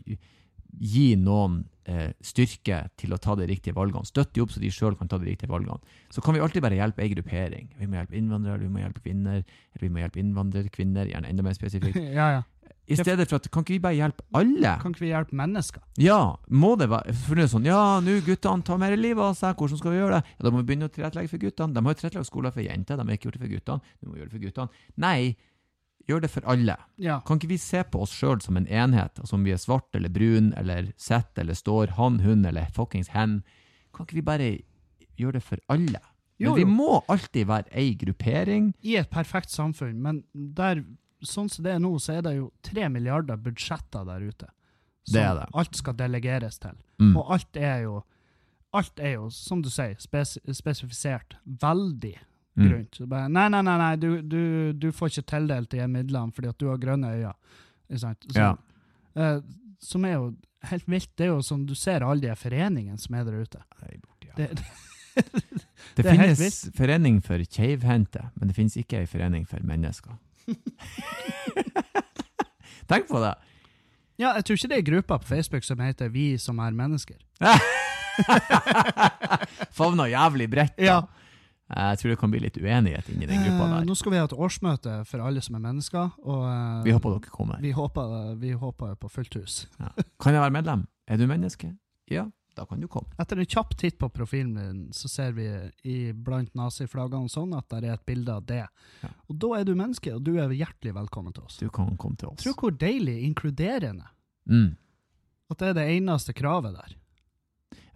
gi noen eh, styrke til å ta de riktige valgene, støtte de opp så de sjøl kan ta de riktige valgene, så kan vi alltid bare hjelpe ei gruppering. Vi må hjelpe innvandrere, vi må hjelpe kvinner, eller vi må hjelpe innvandrerkvinner, gjerne enda mer spesifikt.
ja, ja.
I stedet for at kan ikke vi bare hjelpe alle?
Kan ikke vi hjelpe mennesker?
Ja, må det være For det er sånn, ja, nå guttene tar mer liv av seg, hvordan skal vi gjøre det? Ja, da må vi begynne å tilrettelegge for guttene. De har jo tilrettelagt skoler for jenter, de har ikke gjort det for guttene. Du må gjøre det for guttene. Nei, gjør det for alle.
Ja.
Kan ikke vi se på oss sjøl som en enhet, altså om vi er svart eller brun eller sett eller står, han, hun eller fuckings hen? Kan ikke vi bare gjøre det for alle? Men
Jo,
vi
jo.
må alltid være ei gruppering.
I et perfekt samfunn, men der, sånn som det er nå, så er det jo tre milliarder budsjetter der ute. Som
Det er det.
alt skal delegeres til.
Mm.
Og alt er jo, alt er jo som du sier, spes spesifisert veldig
Mm.
grunt. Så Bare, nei, nei, nei, nei du, du, du får ikke tildelt de her midlene fordi at du har grønne øyne. Ikke sant? Så,
Ja.
eh, som er jo helt vilt. Det er jo som du ser alle de her foreningene som er der ute.
Mm. Nei, borti, ja.
Det,
Det
Det er helt
finnes forening for keivhendte, men det finnes ikke ei forening for mennesker. Tenk på det!
Ja, jeg tror ikke det er gruppa på Facebook som heter Vi som er mennesker.
Favna jævlig bredt. da.
Ja.
Jeg tror det kan bli litt uenighet inni den gruppa
Eh,
der.
nå skal vi ha et årsmøte for alle som er mennesker, og eh,
Vi håper dere kommer.
vi håper, eh, vi håper på fullt hus.
Ja. Kan jeg være medlem? Er du menneske? Ja, da kan du komme.
Etter en kjapp titt på profilen min, så ser vi i blant naziflaggene og sånn at det er et bilde av det.
Ja.
Og da er du menneske, og du er hjertelig velkommen til oss.
Du kan komme til oss.
Tror hvor deilig inkluderende
Mm.
at det er det eneste kravet der.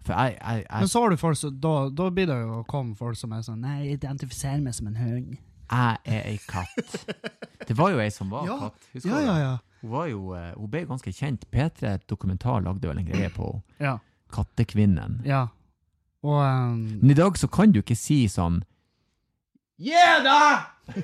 For jeg, jeg,
Men
jeg,
så har du folk som, da, da blir det jo å komme folk som er sånn Nei, jeg identifiserer meg som en hund.
jeg er ei katt. Det var jo ei som var
Ja.
katt. Husker
Ja,
du?
ja, ja.
Hun, var jo, eh, hun ble jo ganske kjent. P3 Dokumentar lagde vel en greie på henne.
Ja.
Kattekvinnen.
ja. Og ehm,
Men i dag så kan du ikke si sånn Yeah, da!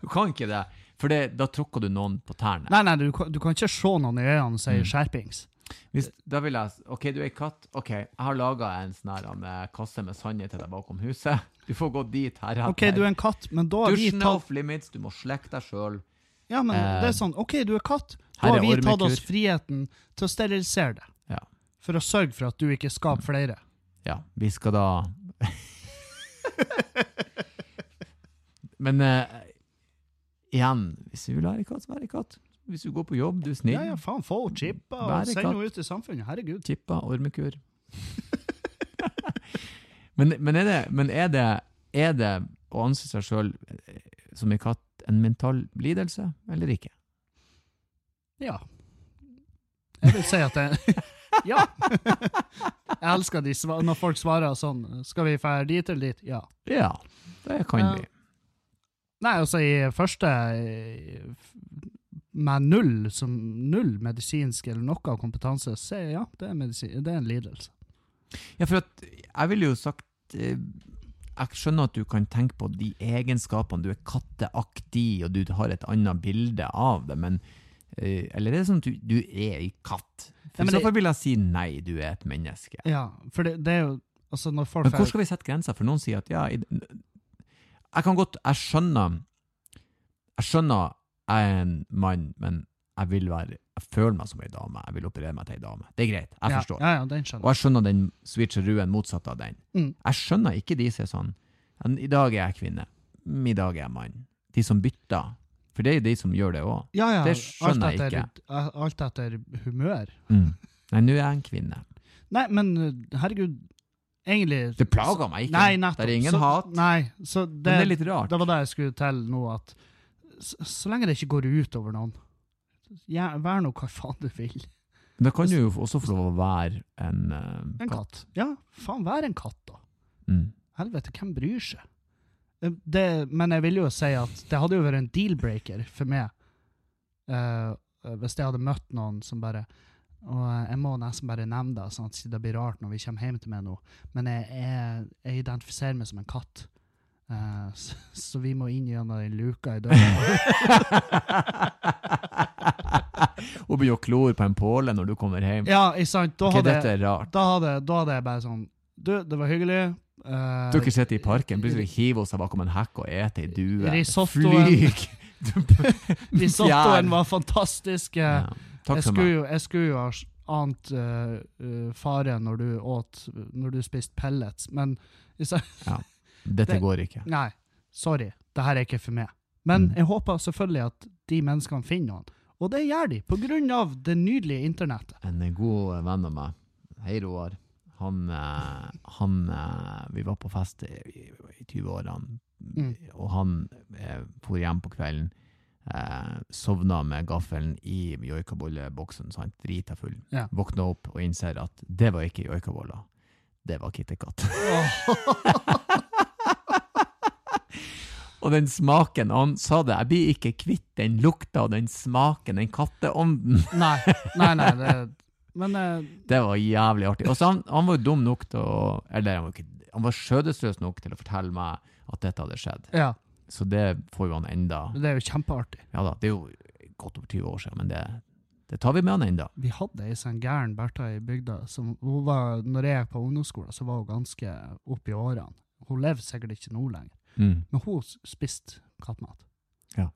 du kan ikke det. For det, da tråkker du noen på tærne.
Nei, nei, du, kan- du kan ikke se noen i øynene og si
Mm.
skjerpings.
Hvis, da vil jeg s- OK, du er ei katt. OK, jeg har laga en sånn her med kasse med sandene til deg bakom huset. Du får gå dit heretter.
OK, du er en katt, men da har vi
Dusjen er
tatt
off limits, du må slekke deg sjøl.
Ja, men
Eh,
det er sånn, OK, du er katt,
her
da har
er
vi tatt
ormekur.
oss friheten til å sterilisere det.
Ja. Mm.
For å sørge for at du ikke skaper flere.
Ja, vi skal da Men eh, igjen, hvis du vil være katt, så vær katt. Hvis du går på jobb, du er snill.
Ja, ja, faen, få henne chippa
Være
og send
katt.
henne ut i samfunnet. Herregud.
Tippa ormekur. men, men, er det, men er det Er det å anse seg sjøl som en katt en mental lidelse, eller ikke?
Ja. Jeg vil si at jeg Ja. Jeg elsker de sva- når folk svarer sånn. Skal vi dra dit eller dit? Ja.
Ja, det kan
Ja.
vi.
Nei, altså, i første eh, f- med null, som null medisinsk eller noe av kompetanse, så er ja, det er, medisin, det er en lidelse.
Ja, for at jeg ville jo sagt eh, Jeg skjønner at du kan tenke på de egenskapene. Du er katteaktig, og du har et annet bilde av det, men eh, Eller er det sånn at du, du er ei katt? For
Ja, men
I så
det-
fall vil jeg si nei, du er et menneske.
Ja, for det, det er jo Altså, når folk
Men hvor skal vi sette grenser? For noen sier at ja, i- jeg kan godt Jeg skjønner Jeg skjønner jeg er en mann, men jeg vil være Jeg føler meg som ei dame. Jeg vil operere meg til ei dame. Det er greit. Jeg
ja,
forstår.
Ja, ja, den
Og
skjønner jeg.
jeg skjønner den switcheruen motsatt av den.
Mm.
Jeg skjønner ikke de som er sånn "Ja, I dag er jeg kvinne. Mm, I dag er jeg mann. De som bytter. For det er jo de som gjør det òg.
Ja, ja,
det skjønner
alt
jeg
etter, eh, Alt etter humør.
Mm. Nei, nå er jeg en kvinne.
Nei, men eh, herregud, egentlig
Det plager meg ikke.
Nei, nettopp.
det er ingen
så,
hat.
Nei, så det,
men det er litt rart.
det var det jeg skulle til nå, at så, så lenge det ikke går ut over noen, ja, vær nå hva faen du vil.
Da kan du jo også få lov å være en, eh,
En katt. Ja, faen, vær en katt, da.
Mm.
Helvete, hvem bryr seg? Eh, Det, men jeg vil jo si at det hadde jo vært en deal-breaker for meg eh, hvis jeg hadde møtt noen som bare Og eh, jeg må nesten bare nevne det, sånn at det blir rart når vi kommer hjem til meg nå, men jeg, jeg, jeg identifiserer meg som en katt. Eh, så, så vi må inn gjennom den luka i døra.
Hun begynner å klore på en påle når du kommer hjem.
ja, ikke sant? Da
Ok,
hadde,
dette
jeg-
er rart.
da, hadde, da hadde jeg bare sånn Du, det var hyggelig. eh,
Dere sitter i parken, plutselig hiver hun seg bakom en hekk og eter ei due.
Risottoen.
Flyg!
Risottoen var fantastisk. eh,
Ja. Takk
jeg
for
skulle,
meg.
jo, jeg skulle jo ha s- ant eh, eh, fare når du åt Når du spiste pellets, men jeg sa,
Dette
det-
går ikke.
Nei, sorry. Det her er ikke for meg. Men
Mm.
jeg håper selvfølgelig at de menneskene finner noen. Og det gjør de, på grunn av det nydelige internettet.
En god venn av meg, hei Roar, han, eh, han eh, Vi var på fest i, i- i 20-årene,
Mm.
og han eh, for hjem på kvelden. Eh, sovna med gaffelen i joikabolleboksen, så han drita full.
Ja.
Våkna opp og innser at det var ikke joikaboller, det var KitKat. og den smaken, og han sa det, jeg blir ikke kvitt den lukta og den smaken, den katteånden.
Nei, nei, nei. Det, men eh,
Det var jævlig artig. Og så han, han var jo dum nok til å Eller han var, ikke, han var skjødesløs nok til å fortelle meg at dette hadde skjedd.
ja,
Så det får jo han enda
det er jo kjempeartig.
Ja da, det er jo godt over 20 år siden, men det, det tar vi med han enda.
Vi hadde ei sånn gæren Bertha i bygda. Som, hun var, når jeg gikk på ungdomsskolen, så var hun ganske opp i årene. Hun lever sikkert ikke nå lenger. Men hun s- spiste kattemat.
Ja.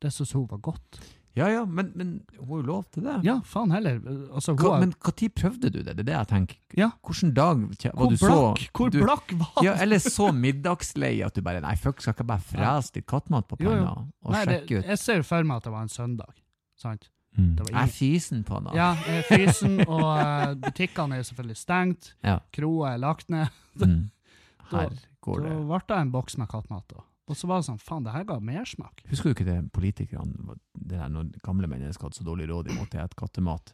Det syntes hun var godt.
Ja ja, men, men hun har jo lov til det.
Ja, faen heller. Altså, hun
Hva,
er-
men når prøvde du det? Det er det jeg tenker.
Ja.
Hvilken dag kje-
hvor
var du så
blakk, hvor
du,
blakk var
Ja, Eller så middagslei at du bare Nei, fuck, skal ikke jeg bare frese litt kattemat på
Jo, jo.
panna og
Nei, det,
sjekke ut?
Jeg ser jo for meg at det var en søndag. Sant?
Mm.
det var
Jeg er fysen på han. da.
Ja, jeg er frysen, og eh, butikkene er selvfølgelig stengt.
Ja.
Kroa er lagt ned.
Mm.
Da-
Her
Så
går det.
ble det en boks med kattemat. da. Og så var det sånn, faen, det her ga mersmak.
Husker du ikke det politikerne det der Når gamle mennesker hadde så dårlig råd de måtte spise kattemat?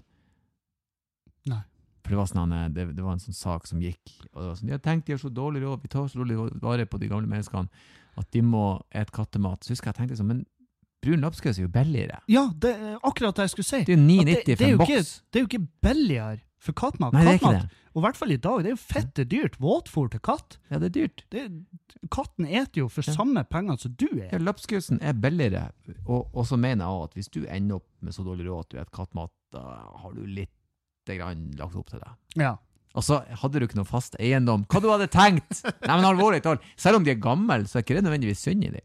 Nei.
For det var, sånn, han, eh, det, det var en sånn sak som gikk, og det var sånn Ja, tenk, de har så dårlig råd, vi tar så dårlig råd vare på de gamle menneskene at de må spise kattemat. Så husker jeg jeg tenkte sånn Men brun lapskaus er jo billigere.
Ja, det er akkurat det jeg skulle si.
Det er jo
At
9,90
det er
for en
jo
boks.
Ikke, det er jo ikke billigere for kattemat.
Nei, det er ikke
Kattemat,
det.
Og i hvert fall i dag, det er jo fette dyrt. Våtfôr til katt.
Ja, det er dyrt.
det, katten eter jo for
Ja.
samme pengene som du
Ja,
er.
Lapskausen er billigere, og, og så mener jeg også at hvis du ender opp med så dårlig råd at du spiser kattemat, da har du lite grann lagt opp til det.
Ja.
Og så hadde du ikke noe fast eiendom. Hva du hadde tenkt? Nei, men alvorlig talt. Selv om de er gamle, så er ikke det nødvendigvis synd i dem.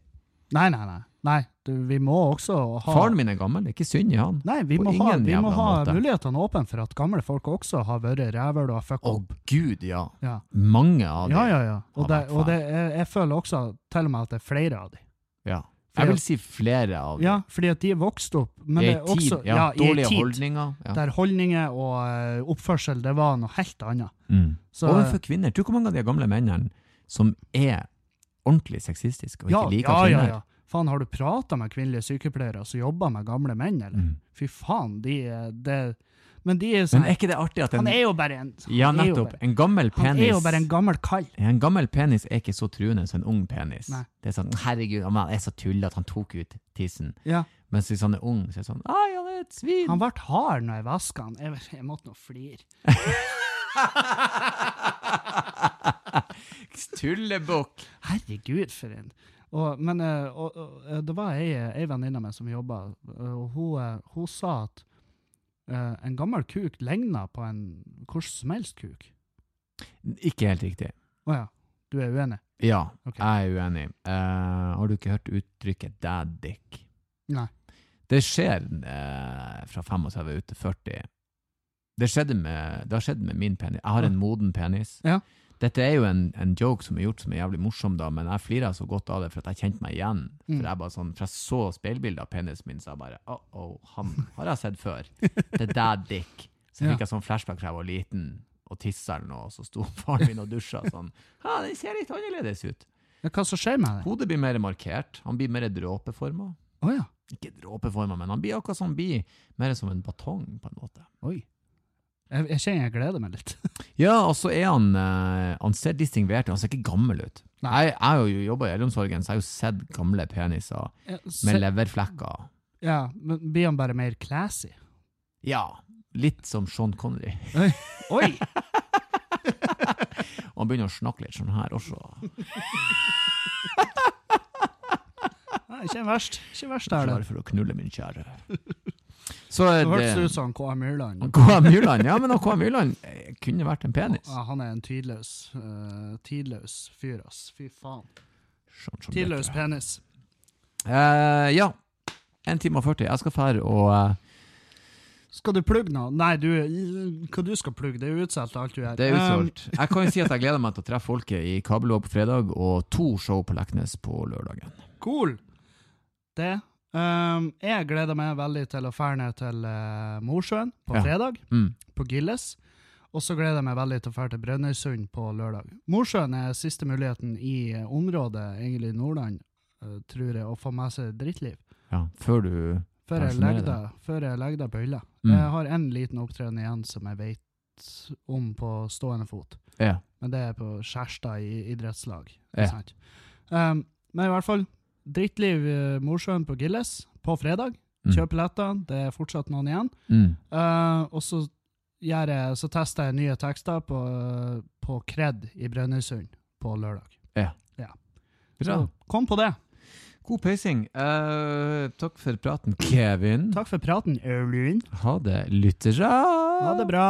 Nei, nei, nei. nei du, vi må også ha
Faren min er gammel, det er ikke synd i han.
Nei, vi
på
må ha,
ingen
vi må
jævla
ha
måte.
mulighetene åpne for at gamle folk også har vært rævhøl og fucka
Å
opp.
gud, ja.
Ja.
Mange av dem.
ja, ja, ja. Og,
Ja,
det,
men
og det, jeg, jeg føler også til og med at det er flere av dem.
Ja.
Fordi
Jeg vil
at-
si flere av
Ja, fordi at de er vokst opp. Men
I
det
ei
er
tid,
også,
ja,
ja, i ei
dårlige
tid
holdninger. Ja.
Der holdninger og eh, oppførsel, det var noe helt annet.
Mm.
Så,
Overfor kvinner. Tror du hvor mange av de gamle mennene som er ordentlig sexistiske og ikke
ja,
liker
ja, ja,
kvinner?
ja. Faen, har du prata med kvinnelige sykepleiere som jobber med gamle menn, eller?
Mm.
Fy faen, de er det, Men de er
Men
sånn
er ikke det artig at en
Han er jo bare en han
Ja,
er jo
nettopp.
bare-
En gammel
Han er jo bare en
penis
gammel kall.
En gammel penis er ikke så truende som en ung penis.
Nei.
Det er sånn 'herregud, han er så tullete at han tok ut tissen'.
Ja.
Mens hvis han er ung, så er det sånn 'ai, han er et svin'.
Han ble hard når jeg vaska han. Jeg, jeg måtte nå flire.
Tullebukk.
Herregud, for en og, Men eh, og, og, eh, det var ei, ei venninne av meg som jobba, og hun, eh, hun sa at eh, en gammel kuk ligna på en hvordan som helst kuk.
Ikke helt riktig.
Å ja, du er uenig?
Ja,
Ok.
jeg er uenig. Eh, har du ikke hørt uttrykket 'dad dick'?
Nei.
Det skjer eh, fra 35 ut til 40. Det, skjedde med, det har skjedd med min penis. Jeg har en moden penis.
Ja.
Dette er jo en, en joke som er gjort som er jævlig morsom, da, men jeg flira så godt av det for at jeg kjente meg igjen.
Mm.
For jeg bare sånn, for jeg så speilbildet av penisen min, så jeg bare oh, oh, han har jeg sett før. Det er dad dick. Så
Ja.
fikk jeg sånn flashback fra jeg var liten og tissa eller noe, og så sto faren min og dusja sånn. Ja, den ser litt annerledes ut.
Ja, hva som skjer med det?
Hodet blir mer markert. Han blir mer dråpeforma.
Å ja.
Ikke dråpeforma, men han blir akkurat som han blir. Mer som en batong, på en måte.
Oi. Jeg, jeg kjenner jeg gleder meg litt.
Ja, og så er han eh, Han ser distingvert ut. Han ser ikke gammel ut.
Nei.
Jeg jeg har jo jobba i eldreomsorgen, så jeg har jo sett gamle peniser
Ja,
med
Se,
leverflekker.
ja, men blir han bare mer classy?
Ja, litt som Sean Connery.
Oi!
Og han begynner å snakke litt sånn her også.
Nei, ikke verst. Ikke verst er det.
Klar for å knulle, min kjære. Så
Det
eh,
hørtes
det
ut som K.A. Myrland.
K.A. Myrland, ja, men han K.A. Myrland eh, kunne vært en penis.
Ja, han er en tidløs, eh, tidløs fyr, ass. Fy faen.
Sånn som det
Tidløs
heter.
penis.
Eh, ja. 1 time og 40. Jeg skal fære og eh,
Skal du plugge noe? Nei, du, hva du skal plugge, det er utsolgt alt du gjør.
Det er utsolgt. Jeg kan jo si at jeg gleder meg til å treffe folket i Kabelvåg på fredag, og to show på Leknes på lørdagen.
Um, cool. Det. Um, jeg gleder meg veldig til å fære ned til eh, Mosjøen på
Ja.
fredag,
Mm.
på Gilles. Og så gleder jeg meg veldig til å fære til Brønnøysund på lørdag. Mosjøen er siste muligheten i eh, området, egentlig i Nordland, eh, tror jeg, å få med seg drittliv.
Ja, før du
Før jeg
Pensjonere
legger deg, før jeg legger deg på hylla.
Mm.
Jeg har en liten opptreden igjen som jeg vet om på stående fot.
Ja.
Men det er på Skjærstad i idrettslag.
Ja.
ikke Sant? Um, men i hvert fall, drittliv eh, Mosjøen på Gilles på fredag.
Mm.
Kjøp billetter, det er fortsatt noen igjen.
Mm.
Uh, og så, gjør jeg, så tester jeg nye tekster på, på Kred i Brønnøysund på lørdag.
Bra.
Så kom på det.
God peising. Eh, takk for praten, Kevin.
Takk for praten, Aulund.
Ha det, lyttere.
Ha det bra.